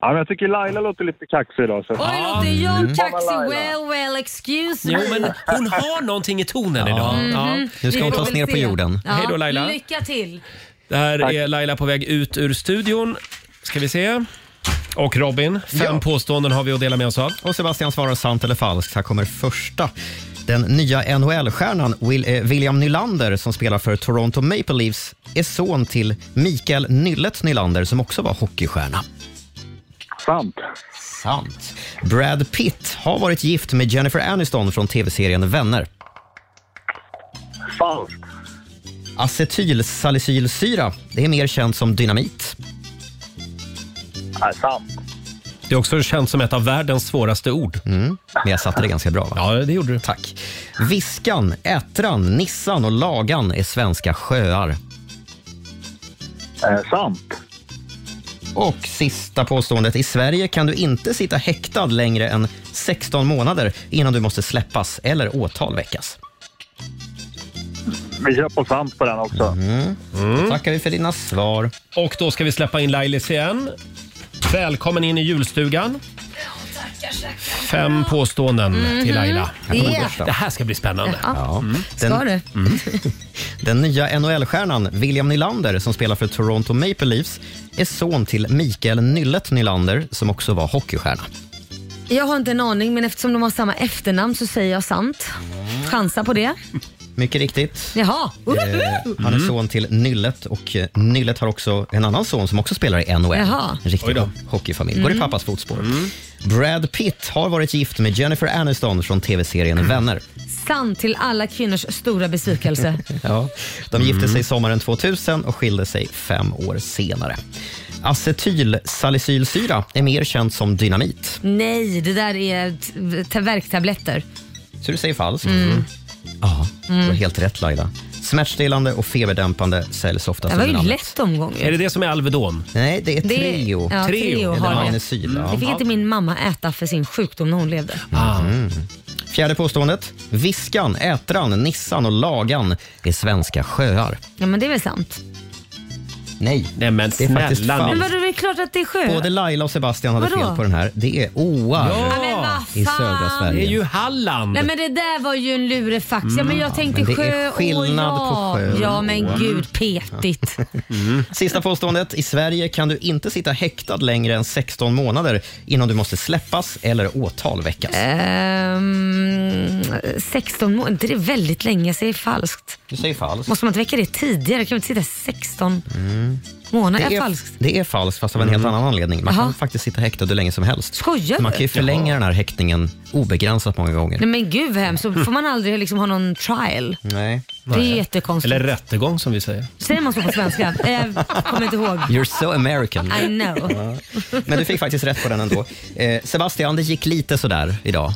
S15: ja, men jag tycker Laila låter lite kaxig idag. Så. Mm.
S2: Oj, låter jag kaxig? Well, well, excuse me.
S1: Jo men hon har någonting i tonen idag.
S2: Mhm. Vi får väl se. Ja.
S1: Hej då Laila.
S2: Lycka till.
S1: Där är Laila på väg ut ur studion. Ska vi se. Och Robin, fem påståenden har vi att dela med oss av.
S3: Och Sebastian svarar sant eller falskt. Här kommer första. Den nya NHL-stjärnan Will, eh, William Nylander som spelar för Toronto Maple Leafs är son till Mikael Nyllet Nylander som också var hockeystjärna.
S15: Sant.
S3: Sant. Brad Pitt har varit gift med Jennifer Aniston från tv-serien Vänner.
S15: Falskt.
S3: Acetylsalicylsyra, det är mer känt som dynamit.
S15: Nej, sant.
S1: Det är också känt som ett av världens svåraste ord.
S3: Mm. Men jag satte det ganska bra va?
S1: Ja, det gjorde du.
S3: Tack. Viskan, Ätran, Nissan och Lagan är svenska sjöar.
S15: Eh, sant.
S3: Och sista påståendet. I Sverige kan du inte sitta häktad längre än 16 månader innan du måste släppas eller åtal väckas.
S15: Vi kör på sant på den också.
S1: Mm.
S3: Då tackar vi för dina svar.
S1: Och då ska vi släppa in Lailis igen. Välkommen in i julstugan. Fem påståenden
S3: Mhm.
S1: till Laila.
S3: Ja.
S1: Det här ska bli spännande.
S3: Ja. Mm.
S1: Ska
S2: det?
S3: Den nya NHL-stjärnan William Nylander som spelar för Toronto Maple Leafs är son till Mikael Nyllet Nylander som också var hockeystjärna.
S2: Jag har inte en aning men eftersom de har samma efternamn så säger jag sant. Chansa på det.
S3: Mycket riktigt.
S2: Jaha.
S3: Eh, han är
S1: Mm.
S3: son till Nyllet och eh, Nyllet har också en annan son som också spelar i NHL.
S2: Jaha.
S3: En
S2: Oj
S3: riktig
S2: då.
S3: hockeyfamilj. Går i
S2: Mm.
S3: pappas fotspår. Brad Pitt har varit gift med Jennifer Aniston från tv-serien Vänner.
S2: Mm. Sant till alla kvinnors stora besvikelse.
S3: Ja,
S2: Mm.
S3: de gifte sig sommaren 2000 och skilde sig fem år senare. Acetylsalicylsyra är mer känt som dynamit,
S2: Nej, det där är t- t- värktabletter.
S3: så du säger falskt.
S2: Mm.
S3: Ja, du har
S2: Mm.
S3: helt rätt Laila. Smärtstillande och feberdämpande säljs oftast
S2: Det var ju
S3: under namnet.
S2: lätt omgång. ju.
S1: det som är Alvedon?
S3: Nej, det är
S2: Det-
S3: Treo.
S2: ja, Treo
S3: Eller
S2: har det. Mm.
S3: Magnesyl.
S2: Det fick inte Ah. min mamma äta för sin sjukdom när hon levde.
S1: Ah.
S3: Mm. Fjärde påståendet. Viskan, Ätran, Nissan och Lagan är svenska sjöar.
S2: Ja, men det är väl sant?
S3: Nej, Nej men det är faktiskt
S1: snälla
S2: Men
S3: falskt.
S2: vadå, det är klart att det är sjö.
S3: Både Laila och Sebastian hade
S2: Vadå?
S3: fel på den här. Det är åar
S2: Ja, men vad
S3: i södra Sverige.
S1: Det är ju Halland.
S2: Nej men det där var ju en lurefax. Ja, men jag tänkte
S3: Mm. Men det
S2: sjö.
S3: är skillnad
S2: åh, ja.
S3: på sjö.
S2: Ja men
S3: Mm.
S2: gud, petigt.
S3: Sista påståendet. I Sverige kan du inte sitta häktad längre än 16 månader innan du måste släppas eller åtal väckas.
S2: Ehm, 16 månader, inte det är väldigt länge? Jag säger falskt.
S3: Du säger falskt.
S2: Måste man inte väcka det tidigare? Kan man inte sitta 16
S3: Mm.
S2: månader?
S3: Det
S2: Är
S3: är,
S2: falskt?
S3: det är falskt, fast av en helt
S1: Mm.
S3: annan anledning. Man kan faktiskt sitta häktad hur länge som helst.
S2: Skojar du?
S3: Man kan ju förlänga den här häktningen obegränsat många gånger.
S2: Nej men gud vad hemskt. Så får man aldrig liksom ha någon trial.
S3: Nej.
S2: Det är Nej. jättekonstigt.
S1: Eller rättegång som vi säger.
S2: Säger man så på svenska? Jag kommer inte ihåg.
S3: You're so American.
S2: I know.
S3: Ja. Men du fick faktiskt rätt på den ändå. Eh, Sebastian, det gick lite sådär idag.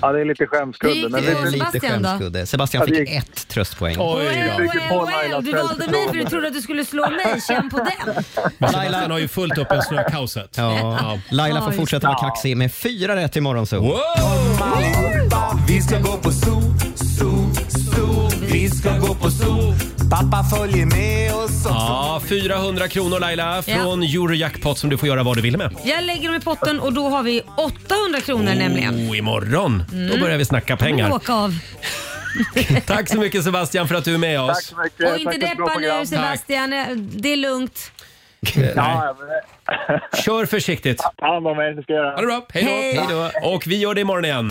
S15: Ja, det är lite skämskudde. Men
S3: Det
S15: vi,
S3: är lite skämskudde. Sebastian
S15: Ja, det
S3: fick
S15: gick-
S3: ett tröstpoäng.
S2: Well, well, well. Du valde mig för du trodde att du skulle slå mig. Känn på den.
S1: Sebastian har ju fullt upp med snökaoset.
S3: Ja. Laila får
S1: Ja,
S3: fortsätta vara kaxig med fyra rätt imorgon så.
S16: Allihopa, vi ska gå på zoo, zoo, zoo. Vi ska gå på zoo. Pappa följer med oss också.
S1: Ja, 400 kronor Laila från Eurojackpot som du får göra vad du vill med.
S2: Jag lägger dem i potten och då har vi 800 kronor nämligen.
S1: Oh, imorgon, då
S2: Mm.
S1: börjar vi snacka pengar.
S2: Åka av.
S1: Tack så mycket Sebastian för att du är med oss.
S2: Tack så Och inte deppa nu Sebastian. Det är lugnt.
S1: mycket. Kör försiktigt.
S15: Ta hand om er, det ska jag göra.
S1: Ha det bra. Hej då. Och vi gör det imorgon igen.